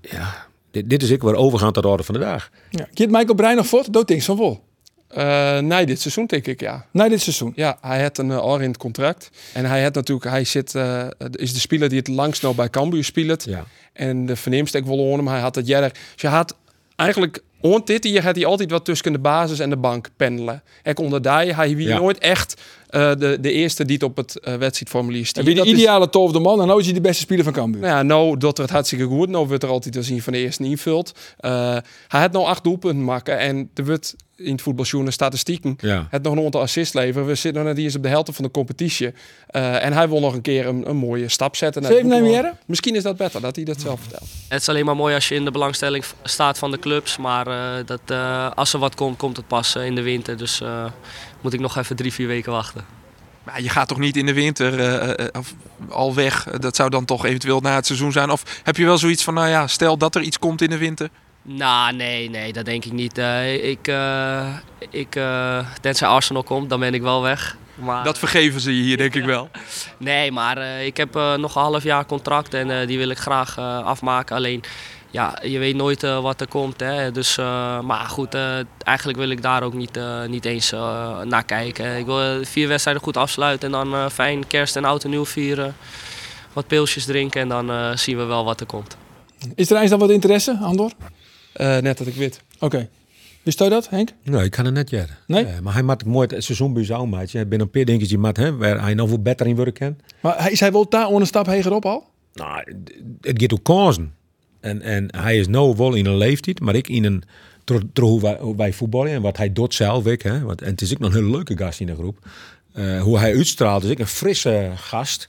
Speaker 4: ja, dit, dit is ik weer overgaan tot de orde van de dag.
Speaker 1: Ja. Geert Michael Brein nog voort? Dat ding van vol.
Speaker 5: Eh, nee, dit seizoen denk ik, ja.
Speaker 1: Na dit seizoen.
Speaker 5: Ja, hij had een uh, in het contract. En hij had natuurlijk, hij zit, eh, is de speler die het langst nou bij Cambuur speelt.
Speaker 4: Ja.
Speaker 5: En de verneemste ik wil hem, hij had dat jaren. Dus je had eigenlijk, on dit hier had hij altijd wat tussen de basis en de bank pendelen. En onder die, hij wie
Speaker 4: Ja.
Speaker 5: nooit echt eh, de, de eerste die het op het eh, wedstrijdformulier
Speaker 1: En
Speaker 5: staat.
Speaker 1: wie de
Speaker 5: Dat is-
Speaker 1: ideale tolfde man en nou is hij de beste speler van Cambuur.
Speaker 5: nou ja, nou doet er het hartstikke goed. Nou wordt er altijd te zien van de eerste invult. Eh hij had nou acht doelpunten maken. En er wordt in het voetbaljournaal statistieken...
Speaker 4: Ja.
Speaker 5: het nog een aantal assist leveren. We zitten nou net eens op de helft van de competitie. Eh, en hij wil nog een keer een, een mooie stap zetten. naar
Speaker 1: Zeven
Speaker 5: het
Speaker 1: nemen,
Speaker 5: voetbal. Misschien is dat beter, dat hij dat zelf vertelt.
Speaker 10: Het is alleen maar mooi als je in de belangstelling v- staat van de clubs. Maar eh, dat, eh, als er wat komt, komt het pas eh, in de winter. Dus eh, moet ik nog even drie, vier weken wachten.
Speaker 6: Maar je gaat toch niet in de winter eh, eh, of al weg? Dat zou dan toch eventueel na het seizoen zijn? Of heb je wel zoiets van, nou ja, stel dat er iets komt in de winter?
Speaker 10: Nou, nee, nee, dat denk ik niet. Eh, ik, eh, ik, eh, tenzij Arsenal komt, dan ben ik wel weg. Maar,
Speaker 6: Dat vergeven ze je hier, denk ik wel.
Speaker 10: Nee, maar eh, ik heb eh, nog een half jaar contract en eh, die wil ik graag eh, afmaken. Alleen, ja, je weet nooit eh, wat er komt. Hè? Dus, eh, maar goed, eh, eigenlijk wil ik daar ook niet, eh, niet eens eh, naar kijken. Ik wil eh, vier wedstrijden goed afsluiten en dan eh, fijn kerst en oud en nieuw vieren. Wat pilsjes drinken en dan eh, zien we wel wat er komt.
Speaker 1: Is er eens dan wat interesse, Andor?
Speaker 5: Eh, net dat ik weet.
Speaker 1: Oké. Wist jij dat, Henk?
Speaker 4: Nou, ik kan het net jaren.
Speaker 1: Nee?
Speaker 4: Eh, maar hij maakt het mooi het seizoen bij jou, maatje. Hij bent een paar dingetjes die maakt, hè, waar hij nog veel beter in werken kan.
Speaker 1: Maar hij- is hij wel daar onder een stap heger op al?
Speaker 4: Nou, het- het gaat ook kansen. En, en hij is nou wel in een leeftijd, maar ik in een... Door, door hoe, wij, hoe wij voetballen en wat hij doet zelf, ik. Hè, want, en het is ook nog een hele leuke gast in de groep. Eh, hoe hij uitstraalt, is ik een frisse gast.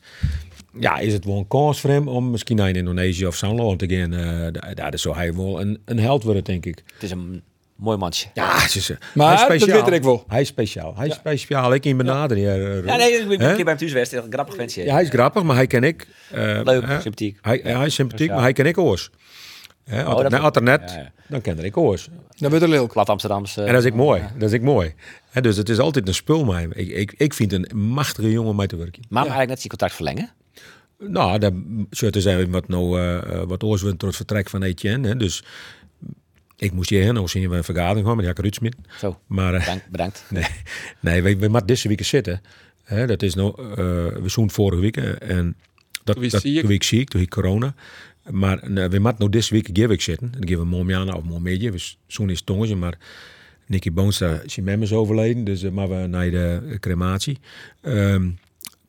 Speaker 4: Ja, is het wel een kans voor hem om misschien naar Indonesië of San Loan te gaan. Eh, da- daar zou hij wel een, een held worden, denk ik.
Speaker 7: Het is een mooi mansje.
Speaker 4: Ja, het is, eh,
Speaker 1: Maar
Speaker 4: hij is
Speaker 1: dat
Speaker 4: speciaal.
Speaker 1: weet ik wel.
Speaker 4: Hij is speciaal. Hij is speciaal. Ik in benadering. eh,
Speaker 7: Ja, nee, ik ben
Speaker 4: Hè?
Speaker 7: een keer bij hem thuis geweest, een grappig ventje.
Speaker 4: Ja, hij is grappig, maar hij ken ik. eh,
Speaker 7: Leuk,
Speaker 4: hè?
Speaker 7: sympathiek.
Speaker 4: Hij, hij is sympathiek, maar hij ken ik oors. Hè, als,
Speaker 7: Oh,
Speaker 4: er,
Speaker 7: dat
Speaker 4: net- als er net,
Speaker 7: Ja, ja.
Speaker 4: dan ken ik oors.
Speaker 1: Dan wordt er leuk.
Speaker 7: Plat Amsterdamse.
Speaker 4: En dat is ik mooi. Dat is ik mooi. Hè, dus het is altijd een spul met hem. Ik, ik, ik vind een machtige jongen om mee te werken.
Speaker 7: Maar eigenlijk net zijn contract verlengen.
Speaker 4: Nou, dat zou te zijn wat nou, eh, eh, wat oors wint door het vertrek van Etienne. Hè, dus ik moest hierheen, nou zien we een vergadering gaan, maar die had ik eruit smitten.
Speaker 7: Zo,
Speaker 4: Maar eh,
Speaker 7: bedankt. bedankt.
Speaker 4: (laughs) Nee, nee we, we moeten deze week zitten. Hè, dat is nou, eh, we zoen vorige week. eh, En dat,
Speaker 5: Toen was
Speaker 4: dat,
Speaker 5: ziek.
Speaker 4: toen ik ziek, toen ik corona. Maar nee, we moeten nou deze week een week zitten. Dan geven we Momjana of Momedje. Dus zoen is tongetje, maar Nicky Boonstra, zijn mem is overleden. Dus eh, maar we naar de crematie. Ehm,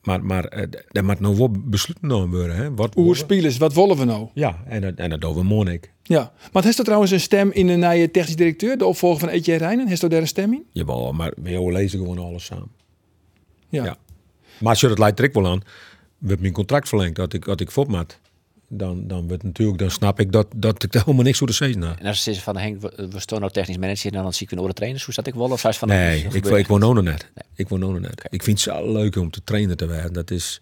Speaker 4: Maar, maar eh, d- daar moet nou wel besluit genomen worden. Hè? Wat willen we?
Speaker 1: Oerspielers, wat willen we nou?
Speaker 4: Ja, en, dat- en dat doen we Monik.
Speaker 1: Ja. Maar heeft er trouwens een stem in de nieuwe technisch directeur, de opvolger van Etje Rijnen? Heeft er daar een stem in?
Speaker 4: Jawel, maar we lezen gewoon alles samen.
Speaker 1: Ja.
Speaker 4: Ja. Maar als je dat leidt er ik wel aan, wordt mijn contract verlengd dat ik, dat ik voortmaat. Dan, dan, wordt natuurlijk, dan snap ik dat, dat ik (laughs) daar helemaal niks voor de zee naar.
Speaker 7: En als ze van Henk, we we stonden ook technisch manager, dan zie ik een andere trainers. Hoe staat ik wel? Of zou ze van
Speaker 4: Nee,
Speaker 7: dat
Speaker 4: ik,
Speaker 7: gebeurt
Speaker 4: ik woon ook nog net.
Speaker 7: Nee.
Speaker 4: Ik woon ook nog net. Ik vind het zo leuk om te trainen te werken. Dat is,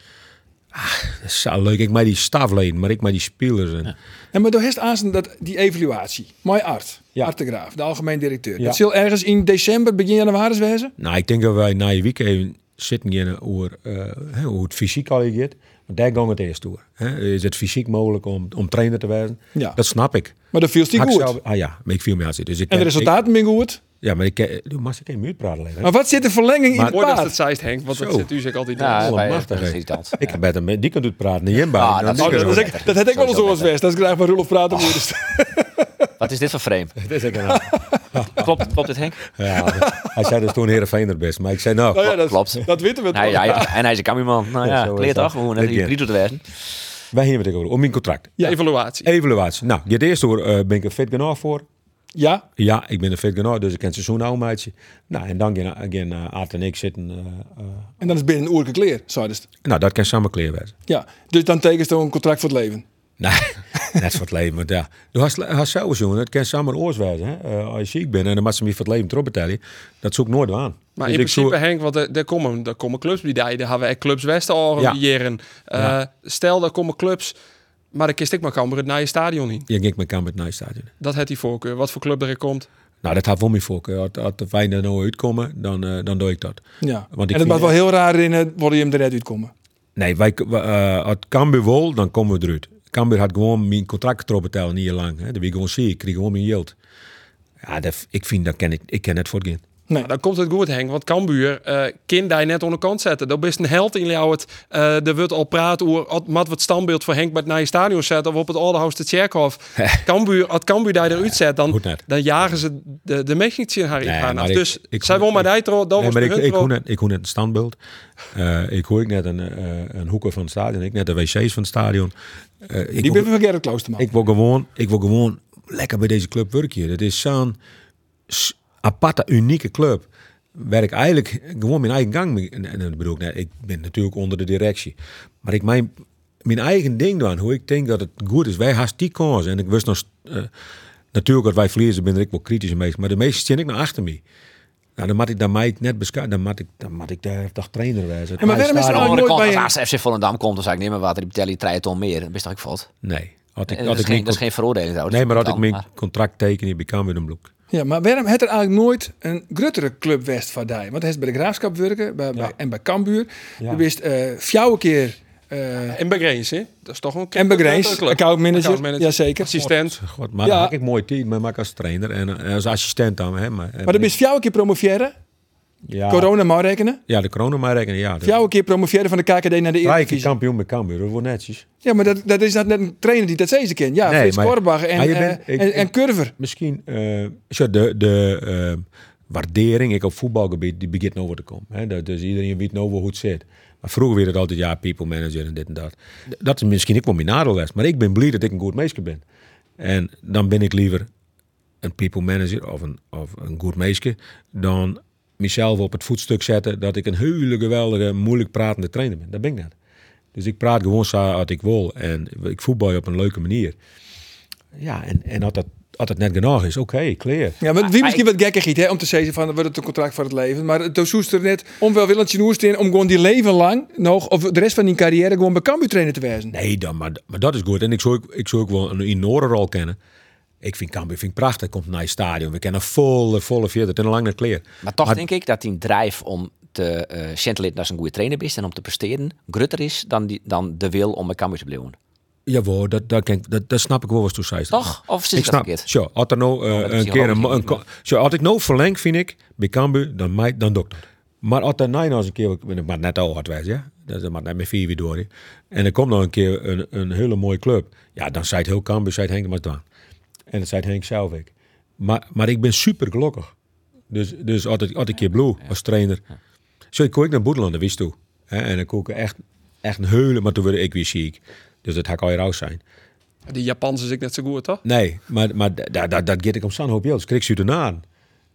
Speaker 4: ah, dat is zo leuk. Ik maak die stafleden, maar ik maak die spelers. En,
Speaker 1: En maar door heeft aanzien dat die evaluatie. Mooi Art,
Speaker 4: Ja.
Speaker 1: Art de Graaf, de algemeen directeur.
Speaker 4: Ja.
Speaker 1: Dat zal ergens in december, begin januari wezen.
Speaker 4: Nou, ik denk dat wij na je week even zitten gaan over eh, hè, hoe het fysiek al gaat. Want daar gaan we het eerst door. Hè. Is het fysiek mogelijk om, om trainer te worden?
Speaker 1: Ja.
Speaker 4: Dat snap ik.
Speaker 1: Maar dat viel die
Speaker 4: Had ik
Speaker 1: goed.
Speaker 4: zelf- ah ja, maar ik viel me aan zitten. Dus ik
Speaker 1: En de
Speaker 4: ken- ik-
Speaker 1: resultaten zijn goed.
Speaker 4: Ja, maar ik ken- doe maar ik geen muur praten alleen. hè.
Speaker 1: Maar wat zit de verlenging in
Speaker 4: Maar-
Speaker 1: het
Speaker 5: Mooi dat
Speaker 1: paard?
Speaker 5: het zeist, Henk, want dat
Speaker 4: Zo.
Speaker 5: zit u zeg altijd in.
Speaker 7: Ja,
Speaker 4: Oh,
Speaker 7: bij-
Speaker 4: machtig,
Speaker 7: Ah, eh, dat is
Speaker 4: hè.
Speaker 7: irritant.
Speaker 4: (laughs) Ik heb met hem, die kan het praten, niet Nou, Jimba.
Speaker 7: Ah, dat is
Speaker 1: Oh, dat, is
Speaker 7: Sowieso
Speaker 1: ik, dat had ik wel eens
Speaker 7: beter.
Speaker 1: zoals best. Dat is graag van Rudolf praten. moest.
Speaker 7: Wat is dit voor frame? Klopt, klopt dit Henk?
Speaker 4: Ja, hij zei dus toen Heerenveen er best. Maar ik zei nou,
Speaker 7: Oh,
Speaker 1: Nou ja, dat,
Speaker 7: Klopt.
Speaker 1: dat weten we toch.
Speaker 7: Nee, ja, ja, en hij is een cameraman. Nou
Speaker 4: Ja,
Speaker 7: ja,
Speaker 4: zo is
Speaker 7: leer
Speaker 4: dat.
Speaker 7: toch? We moeten
Speaker 4: Dit keer.
Speaker 7: hier drie te werken.
Speaker 4: wij hier met ik over, om mijn contract.
Speaker 1: Ja.
Speaker 5: Evaluatie.
Speaker 4: Evaluatie. Nou, dit eerste hoor, eh, ben ik er fit genoeg voor.
Speaker 1: Ja,
Speaker 4: Ja, ik ben er fit genoeg, dus ik ken het seizoen nou, meidje. Nou, en dan gaan gaan, eh, Aad en ik zitten. eh, eh,
Speaker 1: en dan is binnen een oerke kleer, zei dus.
Speaker 4: nou, dat kan samen clear werden.
Speaker 1: Ja, dus dan tekent ze een contract voor het leven.
Speaker 4: Nee, (laughs) net voor het leven. Want ja, je had- had zelfs jongen, het kan samen oors wijzen. Hè? Eh, als je ziek bent en dan moet ze me voor het leven erop betalen, dat zoek ik nooit aan. Dus
Speaker 5: Maar in
Speaker 4: ik
Speaker 5: principe,
Speaker 4: zoek-
Speaker 5: Henk, want er, er komen, er komen clubs bij die, daar hebben we echt clubs Westen al
Speaker 4: Ja.
Speaker 5: organiseren. Eh,
Speaker 4: Ja.
Speaker 5: Stel, daar komen clubs, maar dan kist ik maar kamer het naar je stadion in.
Speaker 4: Ja, ging ik met kamer naar het stadion.
Speaker 5: Dat heeft die voorkeur. Wat voor club er komt.
Speaker 4: Nou, dat had wel mijn voorkeur. Als, als wij er nou uitkomen, dan, eh, dan doe ik dat.
Speaker 1: Ja.
Speaker 4: Want ik
Speaker 1: en het was
Speaker 4: vind-
Speaker 1: wel heel raar in het worden hem er net uitkomen.
Speaker 4: Nee, wij, wij, eh, als Cambuur wil, dan komen we eruit. Cambuur had gewoon mijn contract erop betaald, niet heel lang. Hè. Dat wie gewoon zie, ik kreeg gewoon mijn geld. Ja, dat, ik vind, dat ken ik, ik ken het voor geen.
Speaker 1: Nee.
Speaker 5: Nou, dan komt het goed, Henk. Want Cambuur, eh kind die net onder kant zetten. Dat is een held in jou. Het, eh, er wordt al praat over wat- wat het standbeeld voor Henk bij het Nije Stadion zetten. Of op het Oudehuis de Tjerkhof. Cambuur, als Cambuur die eruit zet, dan,
Speaker 4: Goed net.
Speaker 5: dan jagen ze de, de mechnietje haar
Speaker 4: Nee,
Speaker 5: haar
Speaker 4: maar
Speaker 5: af.
Speaker 4: ik-
Speaker 5: Dus
Speaker 4: ik-
Speaker 5: zij wil maar die tro- dan
Speaker 4: Nee,
Speaker 5: Oh, was
Speaker 4: maar
Speaker 5: de
Speaker 4: ik,
Speaker 5: hun
Speaker 4: ik,
Speaker 5: tro-
Speaker 4: hoor net, ik hoor net een standbeeld. Eh, ik hoor ik net een, eh, een hoeken van het stadion. Ik net de wc's van het stadion. Eh, ik,
Speaker 1: Die
Speaker 4: wil,
Speaker 1: ben van Gerrit Kloosterman.
Speaker 4: ik, wil gewoon, ik wil gewoon lekker bij deze club werken. Het is zo'n s- aparte, unieke club. Waar ik eigenlijk gewoon mijn eigen gang mee... en- En dat bedoel ik, net, ik ben natuurlijk onder de directie. Maar ik mijn, mijn eigen ding doen. Hoe ik denk dat het goed is. Wij haast die kans. En ik wist nog... st- eh, natuurlijk, dat wij verliezen, ben ik wel kritisch mee. Maar de meeste zin ik naar achter me. Nou, dan moet ik, dan mag ik net beschouwen. Dan moet ik, dan moet ik daar dag trainer wijzen.
Speaker 1: En maar waarom is er
Speaker 7: Aan de
Speaker 1: nou
Speaker 7: andere
Speaker 1: nooit
Speaker 7: kant,
Speaker 1: bij
Speaker 7: als
Speaker 1: een-
Speaker 7: AS FC Volendam komt, dan zou ik niet meer water. Die betalen je 3 ton meer. Dat is toch ik fout?
Speaker 4: Nee. Had ik,
Speaker 7: En
Speaker 4: had
Speaker 7: Eh, Dat is
Speaker 4: ik mijn
Speaker 7: geen- dat is
Speaker 4: con-
Speaker 7: geen veroordeling trouwens.
Speaker 4: nee, maar had ik
Speaker 7: Dan,
Speaker 4: mijn
Speaker 7: maar-
Speaker 4: contract tekenen, bij Cambuur een blok.
Speaker 1: Ja, maar waarom had er eigenlijk nooit een gruttere club West van die? Want hij is bij de Graafschap werken bij, bij- en bij Cambuur.
Speaker 4: Ja.
Speaker 1: Je wist eh vier keer eh,
Speaker 5: En Begreens, hè? Dat is toch een
Speaker 1: en bij Grace, accountmanager.
Speaker 5: Accountmanager.
Speaker 1: Jazeker.
Speaker 5: Assistent.
Speaker 4: God, maar
Speaker 1: Ja.
Speaker 4: dan maak ik mooi team, maar maak ik als trainer en eh, als assistent dan. Hè, maar, eh,
Speaker 1: Maar dan ben je vier keer promoveren.
Speaker 4: ja,
Speaker 1: Corona maar rekenen.
Speaker 4: Ja, de corona maar rekenen. Ja, de,
Speaker 1: Vier keer promoveren van de KKD naar de
Speaker 4: Vrij keer
Speaker 1: Eredivisie.
Speaker 4: kampioen met Cambuur, dat wordt netjes.
Speaker 1: Ja, maar dat, dat is dat net een trainer die dat zeker kent. Ja,
Speaker 4: Nee,
Speaker 1: Frits
Speaker 4: maar-
Speaker 1: Korbach en,
Speaker 4: maar je
Speaker 1: eh,
Speaker 4: bent- ik-
Speaker 1: en, en
Speaker 4: ik-
Speaker 1: Curver.
Speaker 4: Misschien eh, zo de, de eh, waardering ik op voetbalgebied, die begint over te komen. Hè? Dat- Dus iedereen weet nou wel hoe het zit. Maar vroeger werd het altijd, ja, people manager en dit en dat. D- Dat is misschien ik wel mijn nadeel was. Maar ik ben blij dat ik een goed meisje ben. En dan ben ik liever een people manager of een, of een goed meisje dan mezelf op het voetstuk zetten dat ik een hele geweldige, moeilijk pratende trainer ben. Dat ben ik net. Dus ik praat gewoon zo wat ik wil en ik voetbal je op een leuke manier. Ja, en, en als, dat, als dat net genoeg is, oké, clear.
Speaker 1: Ja, maar wie misschien wat gekker giet, hè, om te zeggen van, wordt het een contract voor het leven. Maar het zoest er net onwelwillend zijn oerst in om gewoon die leven lang nog, of de rest van die carrière, gewoon bij Cambuur trainer te wezen.
Speaker 4: Nee, dan, maar, maar dat is goed. En ik zou, ook- ik zou ook wel een enorme rol kennen. Ik vind Cambuur vind ik prachtig. Komt naar je stadion. We kennen volle, volle veertig en een lange kleer.
Speaker 7: Maar toch
Speaker 4: Maar-
Speaker 7: denk ik dat die drijf om te eh centralen dat ze een goede trainer is en om te presteren, grutter is dan, die, dan de wil om bij Cambuur te blijven.
Speaker 4: Jawel, dat, dat, ken ik- dat, dat snap ik wel wat toe zei.
Speaker 7: Toch? Of zit
Speaker 4: ik
Speaker 7: ik dat
Speaker 4: snap.
Speaker 7: verkeerd?
Speaker 4: Zo, had er nou eh,
Speaker 7: dat is
Speaker 4: een keer een,
Speaker 7: psychologisch
Speaker 4: een
Speaker 7: niet,
Speaker 4: ko- zo, had ik nou verlengd, vind ik, bij Cambuur, dan mij, dan doe ik dat. Maar als er nou eens een keer, ik maar net al hard wijs, ja, dat is maar net met vier weer door. hè. En er komt nog een keer een, een hele mooie club, ja, dan zei het heel Cambuur, zei het Henk maar dan. En dat zei het Henk zelf ik. Maar, maar ik ben super gelukkig. Dus, dus altijd, altijd een keer blue als trainer. Zo, ik kon ik naar Boedeland, dat wist toe. Hè, en dan koeken echt, echt een heulen, maar toen werd ik weer ziek. Dus dat had al je raus zijn.
Speaker 5: Die Japanse is ik net zo goed, toch?
Speaker 4: Nee, maar, maar da- da- da- dat get ik om zo'n hoop jels. Krijg je ernaar.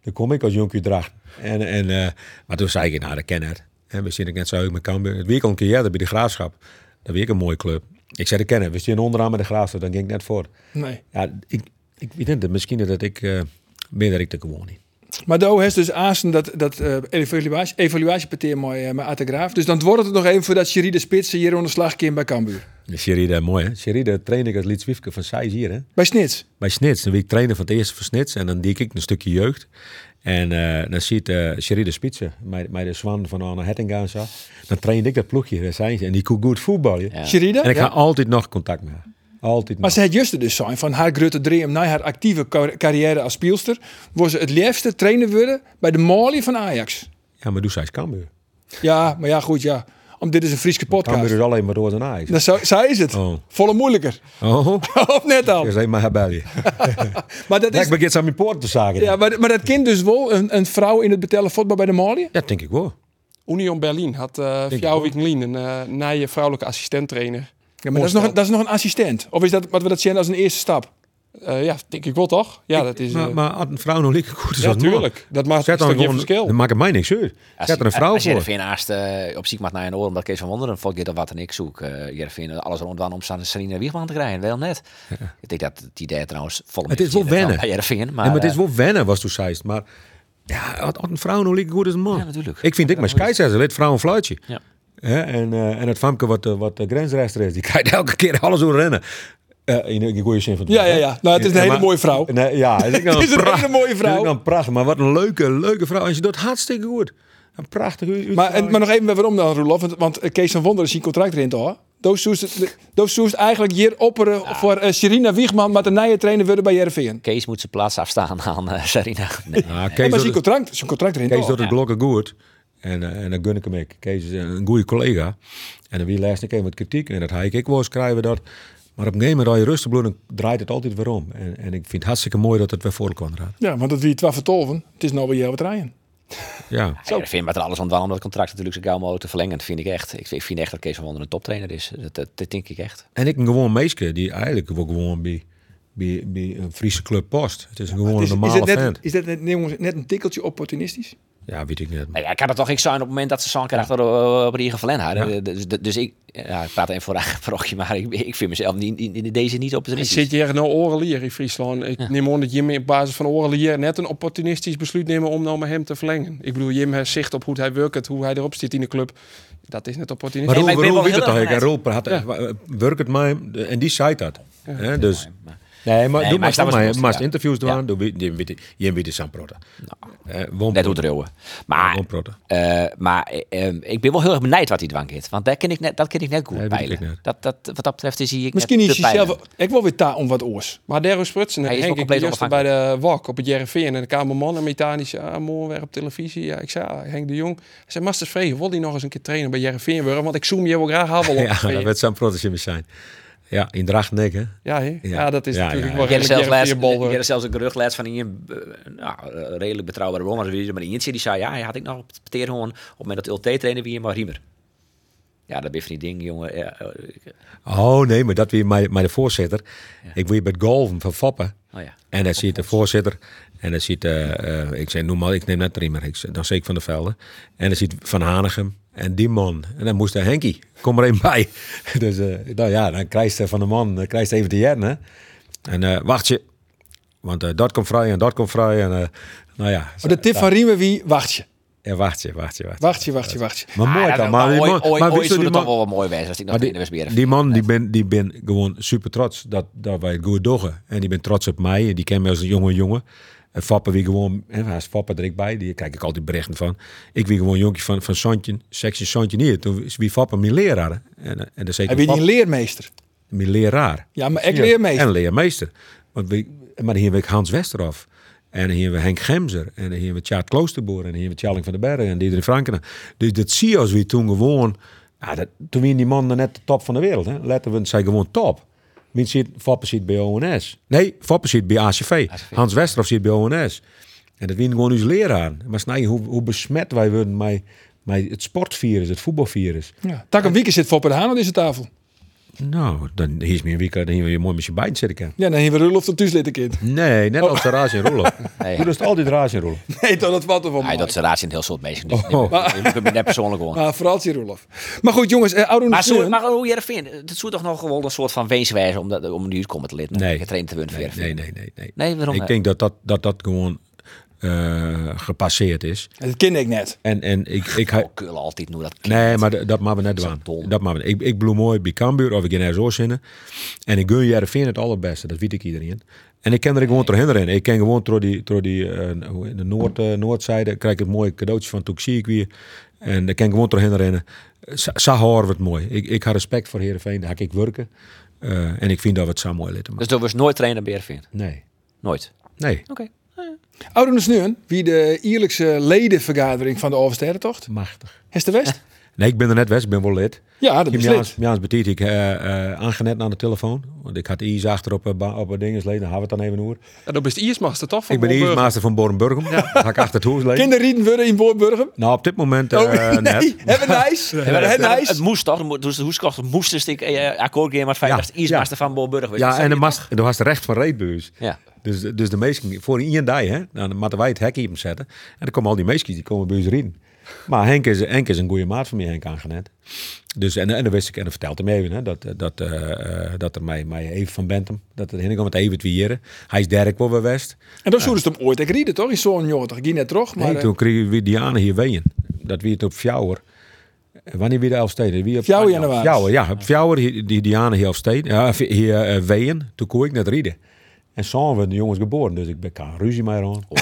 Speaker 4: Dan kom ik als jonkje dracht. En, en, eh, maar toen zei ik, nou, dat ken het. En we zitten net zo uit met Cambuur. Het weekend een keer eerder bij de Graafschap. Dat weet ik een mooie club. Ik zei, dat kennen. We zitten onderaan met de Graafschap. Dan ging ik net voor.
Speaker 1: Nee.
Speaker 4: Ja, ik, ik weet niet. Misschien dat ik... eh meer dat ik er gewoon niet.
Speaker 1: Maar daar heeft dus aanstaan dat, dat eh evaluatie, evaluatiepartier mooi eh, met Ategraaf. Dus dan wordt het nog even voordat Sherry de Spits eh, hier onder slag komt bij Cambuur.
Speaker 4: Sherida, mooi hè? Sherida train ik als Liet Zwiefke van Seis hier hè?
Speaker 1: Bij Snits.
Speaker 4: bij Snits. Dan ben ik trainer van het eerste van Snits. En dan deed ik een stukje jeugd. En eh, dan ziet eh Sherida Spitsen, mij, mij de zwan van Anne Hettinga en zo. Dan train ik dat ploegje. Daar zijn ze. En die koe goed voetballen.
Speaker 7: Ja.
Speaker 1: Sherida?
Speaker 4: En ik
Speaker 1: Ja.
Speaker 4: ga altijd nog contact met haar. Altijd
Speaker 1: Maar
Speaker 4: nog.
Speaker 1: ze had juist dus zijn van haar grote dream na haar actieve car- carrière als speelster. Was ze het liefste trainer worden bij de Mali van Ajax.
Speaker 4: Ja, maar doe zij is Cambuur.
Speaker 1: Ja, maar ja, goed, ja. Om dit is een Friese
Speaker 4: Cambuur
Speaker 1: podcast.
Speaker 4: is alleen maar door zijn Ajax.
Speaker 1: Dat Nou, zo, zo is het.
Speaker 4: Oh.
Speaker 1: Volle moeilijker.
Speaker 4: Oh,
Speaker 1: of net al.
Speaker 4: dat is alleen maar haar belly.
Speaker 1: Maar dat is,
Speaker 4: Ik begin aan mijn poort te zagen.
Speaker 1: ja, maar, maar dat kind dus wel een, een vrouw in het betellen voetbal bij de Mali.
Speaker 4: Ja, denk ik wel.
Speaker 5: Union Berlin had eh
Speaker 4: ik
Speaker 5: jouw Wiekelien een eh nije vrouwelijke assistenttrainer.
Speaker 1: Ja, maar dat is, nog, een- dat is nog een assistent. Of is dat wat we dat zien als een eerste stap?
Speaker 5: Eh, ja, denk ik wel toch? Ja, dat is. eh,
Speaker 4: Maar, maar had een vrouw nog lekker goed is
Speaker 5: ja,
Speaker 4: als een man.
Speaker 5: tuurlijk. Dat maakt
Speaker 4: Zet
Speaker 5: een
Speaker 4: dan
Speaker 5: stukje
Speaker 4: gewoon,
Speaker 5: verschil.
Speaker 4: dan maakt het mij niks uit. Zet er een vrouw
Speaker 7: als
Speaker 4: voor.
Speaker 7: Jereveen naast eh, op ziek maakt naar een oor omdat Kees van Wonderen volgt keer dat wat en ik zoek. eh Jereveen alles rondwaan om San- Sarina Wiegman te krijgen. Wel net. Ik denk dat het idee trouwens volle
Speaker 4: Het is wel wennen.
Speaker 7: Jereveen, maar,
Speaker 4: Nee, maar het is
Speaker 7: eh,
Speaker 4: wel wennen, was toen zei. Maar ja, had, had een vrouw nog lekker goed als een man.
Speaker 7: Ja, natuurlijk.
Speaker 4: Ik vind ik, maar scheidsrechter weet vrouw een fluitje.
Speaker 7: Ja.
Speaker 4: Hè, en, eh, en het famke wat, eh, wat de grensrechter is, die (laughs) kijkt elke keer alles over rennen. Eh, in een goede zin van het
Speaker 1: Ja,
Speaker 4: woord,
Speaker 1: ja,
Speaker 4: hè?
Speaker 1: ja. Nou, het is een
Speaker 4: Ja,
Speaker 1: hele
Speaker 4: maar-
Speaker 1: mooie vrouw.
Speaker 4: Nee, ja,
Speaker 1: (laughs)
Speaker 4: het is, ook nog
Speaker 1: Het is een
Speaker 4: pracht-
Speaker 1: hele mooie
Speaker 4: het is
Speaker 1: vrouw.
Speaker 4: ook nog een pracht, maar wat een leuke, leuke vrouw. En ze doet hartstikke goed. Een prachtig uur.
Speaker 1: Maar, en, maar nog even waarom dan, Roelof? Want, want eh, Kees van Wonderen is in contract erin, toch? Doos zoest het- Doos zoest eigenlijk hier opperen voor eh Serena Wiegman... maar de nieuwe trainer worden bij Jereveen.
Speaker 7: Kees moet zijn plaats afstaan (laughs) aan eh, Sarina. Nee.
Speaker 4: Ja, Kees
Speaker 7: (laughs)
Speaker 1: Nee, maar
Speaker 4: doet
Speaker 1: zijn
Speaker 4: het-
Speaker 1: contract, zijn contract erin,
Speaker 4: Kees
Speaker 1: toch?
Speaker 4: doet het blokken goed. En, eh, en dan gun ik hem ik. Kees is een goede collega. En dan wie leest ik even wat kritiek. En dat hij ik wel eens krijgen we dat. Maar op een gegeven moment als je rustig bloedt, dan draait het altijd weer om. En, en ik vind het hartstikke mooi dat het weer voor kwam raad.
Speaker 1: Ja, want dat wie het was vertolven. Het is nou weer wat rijden.
Speaker 4: Ja.
Speaker 7: Jereveen maakt er alles rondwaan om dat contract natuurlijk zo gauw mogelijk te verlengen. Dat vind ik echt. Ik, ik vind echt dat Kees van Wonderen een toptrainer is. Dat, dat, dat denk ik echt.
Speaker 4: En ik een gewoon meisje die eigenlijk wel gewoon bij, bij, bij een Friese club past. Het is een gewoon
Speaker 1: Het
Speaker 4: een
Speaker 1: is, is
Speaker 4: normale
Speaker 1: dat,
Speaker 4: vent.
Speaker 1: net, is dat net, nee, jongens, net een tikkeltje opportunistisch?
Speaker 4: Ja, weet ik niet.
Speaker 7: Nou ja, ik had het toch ik zijn op het moment dat ze zo'n keer achter eh, op Riege Vlen hadden. Dus, dus ik, ja, ik praat even voor (laughs) Rochie, maar ik, ik vind mezelf niet, in, in deze niet op
Speaker 5: Ik
Speaker 7: het
Speaker 5: zit hier nou Orelier in Friesland. Ik neem aan dat Jim op basis van Orelier net een opportunistisch besluit nemen om nou met hem te verlengen. Ik bedoel, Jim heeft zicht op hoe hij werkt, hoe hij erop zit in de club. Dat is net
Speaker 4: Maar
Speaker 5: opportunistisch.
Speaker 7: Nee, maar ik
Speaker 4: Roel,
Speaker 7: ben
Speaker 4: Roel weet
Speaker 7: wel heel
Speaker 4: het toch? Ik
Speaker 7: erg
Speaker 4: Roel eh, praat, werk het mij en die zei dat. Hè, dus, nee, maar
Speaker 7: Nee,
Speaker 4: doe
Speaker 7: maar
Speaker 4: maar van
Speaker 7: ik snap wat je
Speaker 4: mij.
Speaker 7: bedoelt,
Speaker 4: Maar
Speaker 7: ja.
Speaker 4: interviews doen,
Speaker 7: Ja. Nou.
Speaker 4: doe wie- die weet je weet het aan protten. Eh, woon-
Speaker 7: Net hoe het Maar,
Speaker 4: Gewoon protten.
Speaker 7: eh, maar eh, eh, ik ben wel heel erg benijd wat hij dwangt. Want daar ken ik net, dat ken ik net goed
Speaker 4: Nee, weet ik
Speaker 7: peilen.
Speaker 4: net.
Speaker 7: Dat, dat, wat dat betreft is hij ik
Speaker 1: Misschien
Speaker 7: net
Speaker 1: is
Speaker 7: te
Speaker 1: hij
Speaker 7: peilen.
Speaker 1: zelf ik wil weer ta om wat oors.
Speaker 5: Maar Derro Sprutsen
Speaker 7: Hij
Speaker 5: en
Speaker 7: is
Speaker 5: Henk,
Speaker 7: wel
Speaker 5: ik
Speaker 7: compleet
Speaker 5: juist bij de walk op het JRV en de kamerman en mechanisch mooi weer op televisie. Ja, ik zei, ah, Henk de Jong. Hij zei, Masters Vregen, wil die nog eens een keer trainen bij JRV worden? Want ik zoom je wel graag aan wel
Speaker 4: (laughs)
Speaker 5: op.
Speaker 4: Ja, dat
Speaker 5: Ja,
Speaker 4: werd zo'n protestje zijn. Ja, in Drachtnek, hè?
Speaker 5: ja, hè? ja, dat is
Speaker 4: Ja,
Speaker 5: natuurlijk
Speaker 4: ja,
Speaker 5: wel
Speaker 7: Jij hebt zelfs
Speaker 5: redelijk
Speaker 7: laatst-
Speaker 5: JRV bal.
Speaker 7: jij hebt zelfs een gerucht laatst van een eh, nou, eh, redelijk betrouwbare bron. Maar wie maar eentje die zei, ja, hij had ik nog op het teerhoorn. Op het moment dat Ulte trainen wie hier maar Riemer. Ja, dat ben je van die ding, jongen. Ja, eh,
Speaker 4: Oh nee, maar dat weer mij, mij de voorzitter. Ik weer bij het golven van Fappen.
Speaker 7: oh ja.
Speaker 4: En dan ziet de voorzitter. En dan ziet, eh, eh, ik zei, noem maar, ik neem net Riemer. Ik zei, dan zeg ik Van der Velde. En dan ziet Van Hanegem. En die man. En dan moest de Henkie. Kom er een (laughs) bij. dus eh, nou ja, dan krijgt ze van de man, dan krijgt ze even de jern. En eh, wacht je. Want eh, dat komt vrij en dat komt vrij. En eh, nou ja.
Speaker 1: Maar Oh, de tip van Riemen wie wacht je.
Speaker 4: Ja, wacht je, wacht je, wacht je.
Speaker 1: Wacht je, wacht je, wacht je.
Speaker 4: Maar mooi
Speaker 7: Ah,
Speaker 4: dan.
Speaker 7: dat-
Speaker 4: Maar, die
Speaker 7: ooit-
Speaker 4: man-
Speaker 7: ooit-
Speaker 4: maar
Speaker 7: ooit
Speaker 4: wist je
Speaker 7: zou
Speaker 4: die
Speaker 7: het
Speaker 4: man-
Speaker 7: toch wel wat mooi zijn als ik nog
Speaker 4: maar die,
Speaker 7: in de Westberen
Speaker 4: die man die ben, die ben gewoon super trots dat, dat wij het goed doggen. En die ben trots op mij. En Die ken mij als een jonge jongen. En Fappen wie gewoon, hè, hij is Fappen er ik bij, die kijk ik altijd berichten van. Ik wie gewoon jonkje van, van Santje, seksje Santje hier. Toen is wie Fappen mijn leraar. hè. En, eh, en dan
Speaker 1: Heb
Speaker 4: zei ik,
Speaker 1: je niet een
Speaker 4: Fappen,
Speaker 1: leermeester?
Speaker 4: mijn leraar.
Speaker 1: Ja, maar ik leermeester.
Speaker 4: En leermeester. Want we, maar hier heb ik Hans Westerhof. En hier hebben we Henk Gemser. En hier hebben we Tjaard Kloosterboer. En hier hebben we Tjalling van den Bergen. En Diederik Frankena. Dus dat zie je als we toen gewoon... Ja, dat, toen waren die mannen net de top van de wereld. Hè. Letten we, zijn gewoon top. Mien zit, Foppen zit bij ONS. Nee, Foppen zit bij ACV. Hans dus Westerhof zit bij ONS. En dat waren gewoon onze leraar. Maar snij, hoe, hoe besmet wij worden met, Maar het sportvirus, het voetbalvirus.
Speaker 1: Ja. Tak een wieken zit Foppe de Haan aan deze tafel.
Speaker 4: Nou, dan is meer week, dan hier weer mooi met je beiden zitten kan.
Speaker 1: Ja, dan hebben we Rudolf tot Tuslid een kind. (laughs)
Speaker 4: Nee, net als de rage en (laughs) rollen. Je doet altijd rage en rollen.
Speaker 1: Nee, toch, dat valt er wel
Speaker 7: Hij
Speaker 1: mee.
Speaker 7: dat is raad in heel soort mensen. Dus
Speaker 4: Oh.
Speaker 7: ik heb hem net persoonlijk hoor.
Speaker 1: Maar vooral zie Rudolf. Maar goed, jongens, eh Arun
Speaker 7: Maar, zo,
Speaker 1: Steun.
Speaker 7: maar hoe jij dat vindt, eh, dat zou toch nog gewoon een soort van weenswijze om, dat, om een komen te lid.
Speaker 4: Nee.
Speaker 7: Getraind te worden.
Speaker 4: Nee,
Speaker 7: verder.
Speaker 4: nee, nee. nee, nee.
Speaker 7: Nee, waarom
Speaker 4: ik
Speaker 7: niet?
Speaker 4: denk dat dat, dat, dat gewoon eh, gepasseerd is.
Speaker 1: Dat ken ik net.
Speaker 4: En, en ik, ik,
Speaker 7: Oh, Keulen altijd nu dat
Speaker 4: Nee, maar dat, dat maken we net
Speaker 7: Dat is
Speaker 4: doen.
Speaker 7: dom.
Speaker 4: Dat maken we. Ik, ik bloem mooi bij Cambuur of ik in RSO zinnen. En ik gun Jereveen het allerbeste, dat weet ik iedereen. En ik ken er gewoon doorheen rennen. Ik ken gewoon door die, door die eh, hoe heet het, noord, eh, noordzijde, krijg ik het mooie cadeautje van Toxie weer. En ik ken gewoon doorheen rennen. Zo- Zo horen we het mooi. Ik, ik had respect voor Heerenveen, daar ga ik werken. Eh, en ik vind dat we het zo mooi laten maken.
Speaker 7: Dus dat was nooit trainen bij Heerenveen?
Speaker 4: Nee,
Speaker 7: Nooit.
Speaker 4: nee.
Speaker 1: Arun Sneun, wie de eerlijkse ledenvergadering van de Oversterrentocht.
Speaker 4: Machtig.
Speaker 1: Hester West?
Speaker 4: Nee, ik ben er net west, ik ben wel lid.
Speaker 1: Ja,
Speaker 5: Ah,
Speaker 1: dat
Speaker 4: Ik heb
Speaker 1: is
Speaker 4: Jaans,
Speaker 1: lid.
Speaker 4: Jaans Betiet, ik eh, eh, aangenet aan de telefoon. Want ik had Ies achter op, eh, ba- op het dingesleden, daar hadden we het dan even over.
Speaker 5: Ja, dat is de Iersmaster toch? Van
Speaker 4: Ik ben
Speaker 5: Bolburg?
Speaker 4: Iersmaster van Borenburgum. Ja. Ga ik achter het hoes lezen.
Speaker 1: Kinderrieden worden in Voorburgum.
Speaker 4: Nou, op dit moment eh
Speaker 1: Oh, nee,
Speaker 4: net.
Speaker 1: hebben
Speaker 5: (laughs)
Speaker 1: nice. Hebben
Speaker 7: het,
Speaker 1: nice.
Speaker 7: moest toch? moet- Dus de hoeskocht moest een stuk eh, akkoord gaan met 50
Speaker 4: Ja,
Speaker 7: Iersmaster van Bolburg. weet je.
Speaker 4: Ja,
Speaker 7: Dat
Speaker 4: en de
Speaker 7: zei
Speaker 4: mas, er was recht van reedbeurs.
Speaker 7: je. Ja.
Speaker 4: Dus, dus de meesten, voor een dag, hè, dan moeten wij het hek hier zetten. En dan komen al die meesten, die komen bij ons erin. Maar Henk is, Henk is een goede maat van mij, Henk aangenet. Dus, en, en dan wist ik, en dan vertelde hij me even, hè, dat, dat, eh, eh, dat er mij, mij even van Bentham, dat het heen kwam met even vieren. Hij is derde wel bij West.
Speaker 1: En dan zouden ze hem ooit ik rieden, toch? In zo'n jongen, toch? Ik ging net terug, maar...
Speaker 4: Nee,
Speaker 1: eh,
Speaker 4: toen kregen we Diana hier ween. Dat wie het op Fjouwer. Wanneer weer de Elfsteden? Wie op
Speaker 1: 4 januari.
Speaker 4: Fjouwer, ja. Op Fjouwer, hier- die Diana hier Elfsteden. Ja, v- hier eh, ween. Toen kon ik net rieden. En samen werden de jongens geboren. Dus ik ben kan ruzie mee rond. (laughs)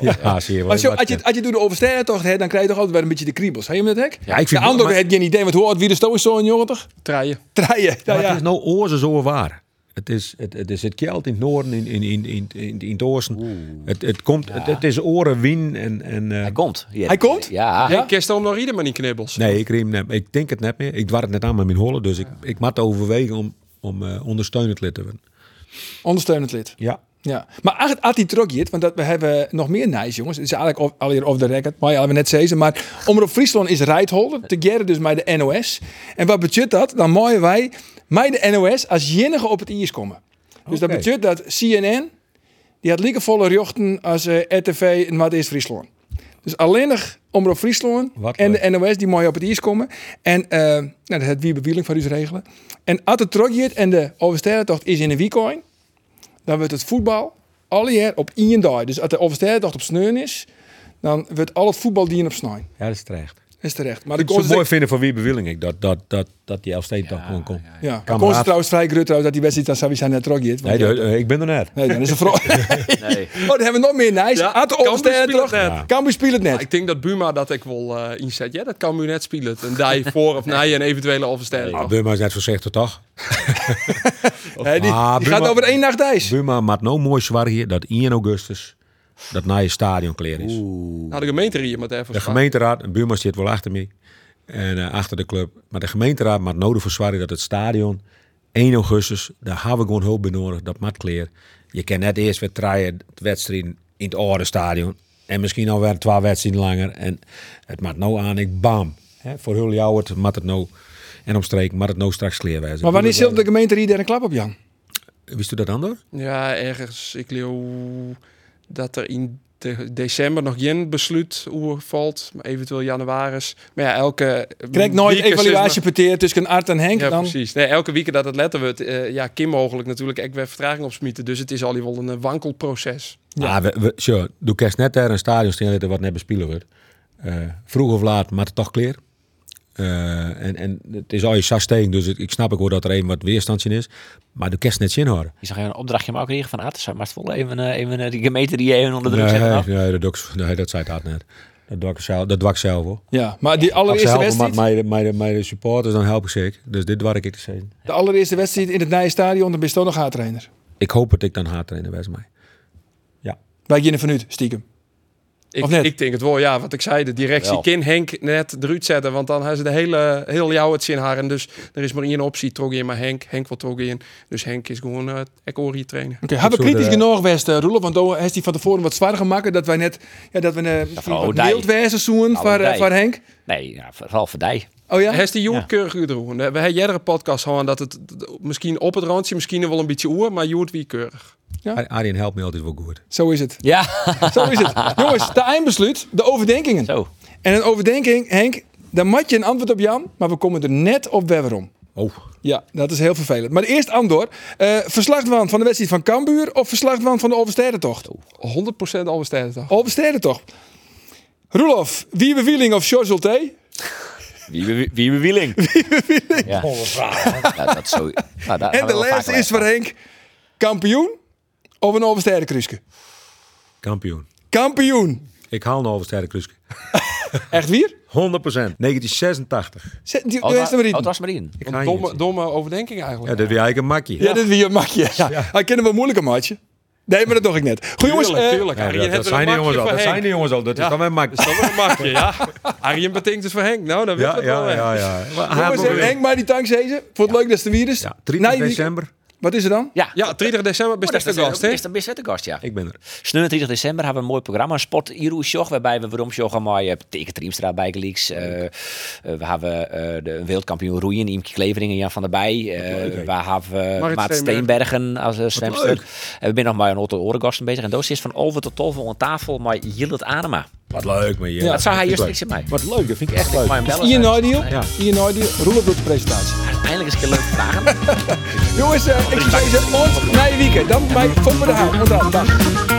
Speaker 4: Ja, zie je wel.
Speaker 1: Maar zo, als, je, als je door de oversterrentocht hebt, dan krijg je toch altijd wel een beetje de kriebels. Heb je hem dat hek?
Speaker 4: Ja, ik vind-
Speaker 1: de andere
Speaker 4: maar-
Speaker 1: heeft geen idee, want hoe oud wie de stoel is zo'n jongen toch?
Speaker 5: Treien.
Speaker 1: Treien.
Speaker 4: Maar
Speaker 1: Ja,
Speaker 4: het
Speaker 1: ja.
Speaker 4: is nou oorzen zo waar. Het is het, het, is het geld in het noorden, in, in, in, in, in, in het oosten. Het, het, komt, het, het is oren, wien en... en eh,
Speaker 7: Hij komt. hier.
Speaker 1: Hij komt?
Speaker 7: Ja.
Speaker 1: Ja?
Speaker 5: Ik kerst om nog ieder maar niet knibbels.
Speaker 4: Nee, ik riem net. Ik denk het net meer. Ik dwar het net aan met mijn hollen. Dus ik, ik moet overwegen om, om eh, ondersteunend lid te worden.
Speaker 1: Ondersteunend lid.
Speaker 4: Ja.
Speaker 1: Ja, maar eigenlijk had hij teruggeet, want dat, we hebben nog meer nice jongens. Het is eigenlijk of- alweer off the record, maar ja, we net zezen. Maar Omroep Friesland is rijtholder, together dus met de NOS. En wat betekent dat? Dan mooien wij mij de NOS als jenige op het IS komen. Dus dat
Speaker 4: Oké.
Speaker 1: betekent dat CNN, die had lieke volle jochten als eh, RTV en wat is Friesland. Dus alleen nog Omroep Friesland
Speaker 4: Wat
Speaker 1: en
Speaker 4: leuk.
Speaker 1: de NOS die mooi op het IS komen. En eh nou, dat het wie bewieling van u regelen. En als het teruggeet en de Oversterrentocht is in een weekend dan wordt het voetbal alle jaar op één dag. Dus als de Oversterrentocht op sneun is, dan wordt al het voetbal die op sneun.
Speaker 4: Ja, dat is terecht.
Speaker 1: Dat is terecht. Maar de
Speaker 4: Ik zou het mooi
Speaker 1: concentratie
Speaker 4: vinden van wie bewilling ik dat, dat, dat, dat die Elfstedentocht gewoon komt.
Speaker 1: ja, de
Speaker 4: Kameraad.
Speaker 1: kans is trouwens vrij groot trouwens dat die wedstrijd dan zou zijn net rogiet.
Speaker 4: Nee, de- eh, ik ben er net.
Speaker 1: nee, dan is het vooral. (laughs)
Speaker 7: Nee.
Speaker 1: Oh, dan hebben we nog meer nice.
Speaker 5: Ja,
Speaker 1: Ja, de
Speaker 5: Cambuur
Speaker 1: Oversterrentocht.
Speaker 5: speelt het
Speaker 4: net.
Speaker 1: Cambuur speelt het net.
Speaker 5: Ik denk dat Buma dat ik wel eh inzet. Ja, dat kan nu net spelen. Een dij voor of na een eventuele oversterring.
Speaker 4: Ah, Buma is net voorzichtig,
Speaker 1: (laughs)
Speaker 4: toch?
Speaker 1: Hè, die
Speaker 4: Ah,
Speaker 1: die gaat
Speaker 4: Buma-
Speaker 1: over één nacht ijs.
Speaker 4: Buma maakt nou mooi zwaar hier dat 1 augustus dat na je stadion kleer is.
Speaker 5: Nou, de gemeente hier met even
Speaker 4: De gemeenteraad, en Buma zit wel achter mij en eh, achter de club. Maar de gemeenteraad maakt nodig voor zwaar dat het stadion 1 augustus, daar hebben we gewoon hulp bij nodig, dat maakt kleer. Je kan net eerst weer draaien, de wedstrijden in het oude stadion. En misschien alweer twee wedstrijden langer. En het maakt nou aan, ik bam. Hè, voor Hul Jouwert maakt het nou, en omstreek maakt het nou straks kleer wijzen.
Speaker 1: Maar wanneer zult de gemeente hier daar een klap op, Jan?
Speaker 4: Wist u dat dan door?
Speaker 5: Ja, ergens. Ik leeuw dat er in de- december nog geen besluit over valt. Maar Eventueel januari. Maar ja, elke...
Speaker 1: Krijg nooit
Speaker 5: week is
Speaker 1: evaluatie
Speaker 5: het
Speaker 1: parteerd tussen Art en Henk.
Speaker 5: maar- Ja,
Speaker 1: dan,
Speaker 5: precies. Nee, elke week dat het letter wordt, eh, ja, Kim mogelijk natuurlijk ik weer vertraging opsmieten. Dus het is al wel een eh, wankelproces.
Speaker 4: Ja, Ah, we, we, zo, doe kerst net daar een stadion staan zitten wat net bespelen wordt. Eh, vroeg of laat, maar het toch kleer. Eh, en, en het is al je sasteen, dus ik, ik snap ook wel dat er een wat weerstandje is. Maar doe kerst net zin houden.
Speaker 7: Je zag een opdrachtje maar ook kregen van Aten. Maar het vol even, eh, even eh, die gemeente die je even onder druk
Speaker 4: Nee,
Speaker 7: zet. nou.
Speaker 4: nee, dat doe ik- nee, dat zei het hard net. Dat doe ik zelf, dat doe ik zelf hoor.
Speaker 1: Ja, maar die
Speaker 4: Als ze
Speaker 1: allereerste
Speaker 4: helpen met
Speaker 1: wedstrijd,
Speaker 4: mijn, mijn, mijn supporters, dan help ik ze. ik. Dus dit waar ik te zeggen.
Speaker 1: de allereerste wedstrijd in het nieuwe stadion, dan ben je toch nog A-trainer.
Speaker 4: Ik hoop dat ik dan haat trainen bij mij.
Speaker 1: Wij beginnen vanuit, stiekem.
Speaker 5: Ik,
Speaker 1: Of net?
Speaker 5: ik denk het wel, ja, wat ik zei, de directie
Speaker 7: Wel.
Speaker 5: kin Henk net eruit zetten, want dan hebben ze de hele, heel jou het zin haar. En dus er is maar één optie, trok in, maar Henk, Henk wil trok in. Dus Henk is gewoon, eh ik hoor hier trainen.
Speaker 1: Oké, hebben we
Speaker 4: soort,
Speaker 1: kritisch
Speaker 4: eh,
Speaker 1: genoeg geweest, eh, Roelof? Want dan heeft hij van tevoren wat zwaarder gemaakt. Dat wij net, ja, dat we eh, misschien
Speaker 7: vooral
Speaker 1: wat
Speaker 7: Dij.
Speaker 1: mild wezen zoen
Speaker 7: Nou,
Speaker 1: voor, eh,
Speaker 7: Dij.
Speaker 1: voor Henk.
Speaker 7: Nee, ja, vooral voor die.
Speaker 1: Oh ja?
Speaker 5: Heeft die Joert keurig uitroeien. We hebben jerdere podcast gehad dat het d- d- misschien op het randje, misschien wel een beetje oer, maar Joert wie keurig.
Speaker 4: Ar- Arjen helpt me altijd wel goed.
Speaker 1: Zo is het.
Speaker 7: (laughs) Ja,
Speaker 1: Zo is het. Jongens, de eindbesluit, de overdenkingen.
Speaker 7: zo.
Speaker 1: En een overdenking, Henk, daar mat je een antwoord op Jan, maar we komen er net op waarom.
Speaker 4: Oh,
Speaker 1: Ja, dat is heel vervelend. Maar eerst Andor. Eh verslagwan van de wedstrijd van Cambuur of verslagwan van de Overstedentocht?
Speaker 5: 100% Alverstijden toch?
Speaker 1: Overstedentocht. Roelof, wie bewieling of George Zulte?
Speaker 7: Wie bewi- wie bewieling? Wie bewieling? Ja. Ja, dat zo. Nou, daar
Speaker 1: En
Speaker 7: gaan we
Speaker 1: de
Speaker 7: wel
Speaker 1: laatste
Speaker 7: vaker
Speaker 1: is voor
Speaker 7: bij.
Speaker 1: Henk. Kampioen of een Oversteden-kruiske?
Speaker 4: kampioen.
Speaker 1: Kampioen.
Speaker 4: Ik haal nou een overstijden (laughs) Kruske. 100%.
Speaker 1: Echt wie?
Speaker 4: 1986.
Speaker 1: Zet- Die,
Speaker 7: Oh,
Speaker 1: doe eerst hem
Speaker 7: nou-
Speaker 1: erin.
Speaker 7: oh, het was maar in.
Speaker 4: Ik ga
Speaker 5: Een
Speaker 4: hier
Speaker 5: domme,
Speaker 4: zitten.
Speaker 5: domme overdenking
Speaker 4: Ja,
Speaker 5: eigenlijk.
Speaker 4: dat wil eigenlijk een makkie.
Speaker 1: Ja, dit wie je mag je. Ja. Hij kende wel moeilijke maatje. Nee, maar dat toch ik net. Goed jongens,
Speaker 5: Tuurlijk,
Speaker 1: eh,
Speaker 5: tuurlijk.
Speaker 4: Ja,
Speaker 5: Arjen
Speaker 4: dat,
Speaker 5: heeft
Speaker 4: dat
Speaker 5: er een
Speaker 4: zijn de jongens
Speaker 5: makje
Speaker 4: al.
Speaker 5: voor
Speaker 4: Dat zijn
Speaker 5: Henk.
Speaker 4: de jongens al. Dat
Speaker 5: Ja.
Speaker 4: is dan mijn makkie.
Speaker 5: Dat is wel een makje, ja. Arjen betekent het voor Henk. Nou, dan weet
Speaker 4: (laughs) Ja,
Speaker 5: het wel.
Speaker 4: ja,
Speaker 5: hè.
Speaker 4: ja. ja. Maar hij
Speaker 1: jongens,
Speaker 4: heeft ook
Speaker 1: eh,
Speaker 4: weer-
Speaker 1: Henk maar die tankzezen. Vond het leuk dat ze er weer is.
Speaker 4: Ja, 30
Speaker 1: Nee, die-
Speaker 4: december.
Speaker 1: Wat is er dan?
Speaker 7: Ja.
Speaker 5: Ja, 30 december
Speaker 7: Oh,
Speaker 5: best
Speaker 7: dat
Speaker 5: de gast, hè?
Speaker 7: Is dat best de gast, ja.
Speaker 4: Ik ben er.
Speaker 7: 29 december hebben we een mooi programma, een sport Iru Sjog, waarbij we waarom Sjog maar je Teken Triemstra bij Gelieks. eh, eh, we hebben eh, de wereldkampioen roeien, Imke Kleveringen, Jan van der Bij. eh, we hebben
Speaker 5: Marit
Speaker 7: Maart
Speaker 5: Steenbergen.
Speaker 7: Steenbergen als eh, zwemstuk. En we zijn nog maar een Otto Orengasten bezig. En Doos is van over tot tolven aan tafel, maar Jillet Adema.
Speaker 4: Wat leuk, man.
Speaker 7: dat zou hij eerst niks in mij.
Speaker 4: Wat leuk, dat vind ik echt
Speaker 7: Ik
Speaker 4: leuk.
Speaker 7: wou hem bellen.
Speaker 1: Ian Ideal.
Speaker 7: Nee,
Speaker 4: Ja.
Speaker 1: Ian Ideal. Roelof doet de presentatie.
Speaker 7: Eindelijk eens een keer leuke vragen.
Speaker 4: Oh,
Speaker 1: Jongens, eh, ik zou zeggen, ons na je weekend. Dan bij Foppen de Haan. Tot dan. Dag.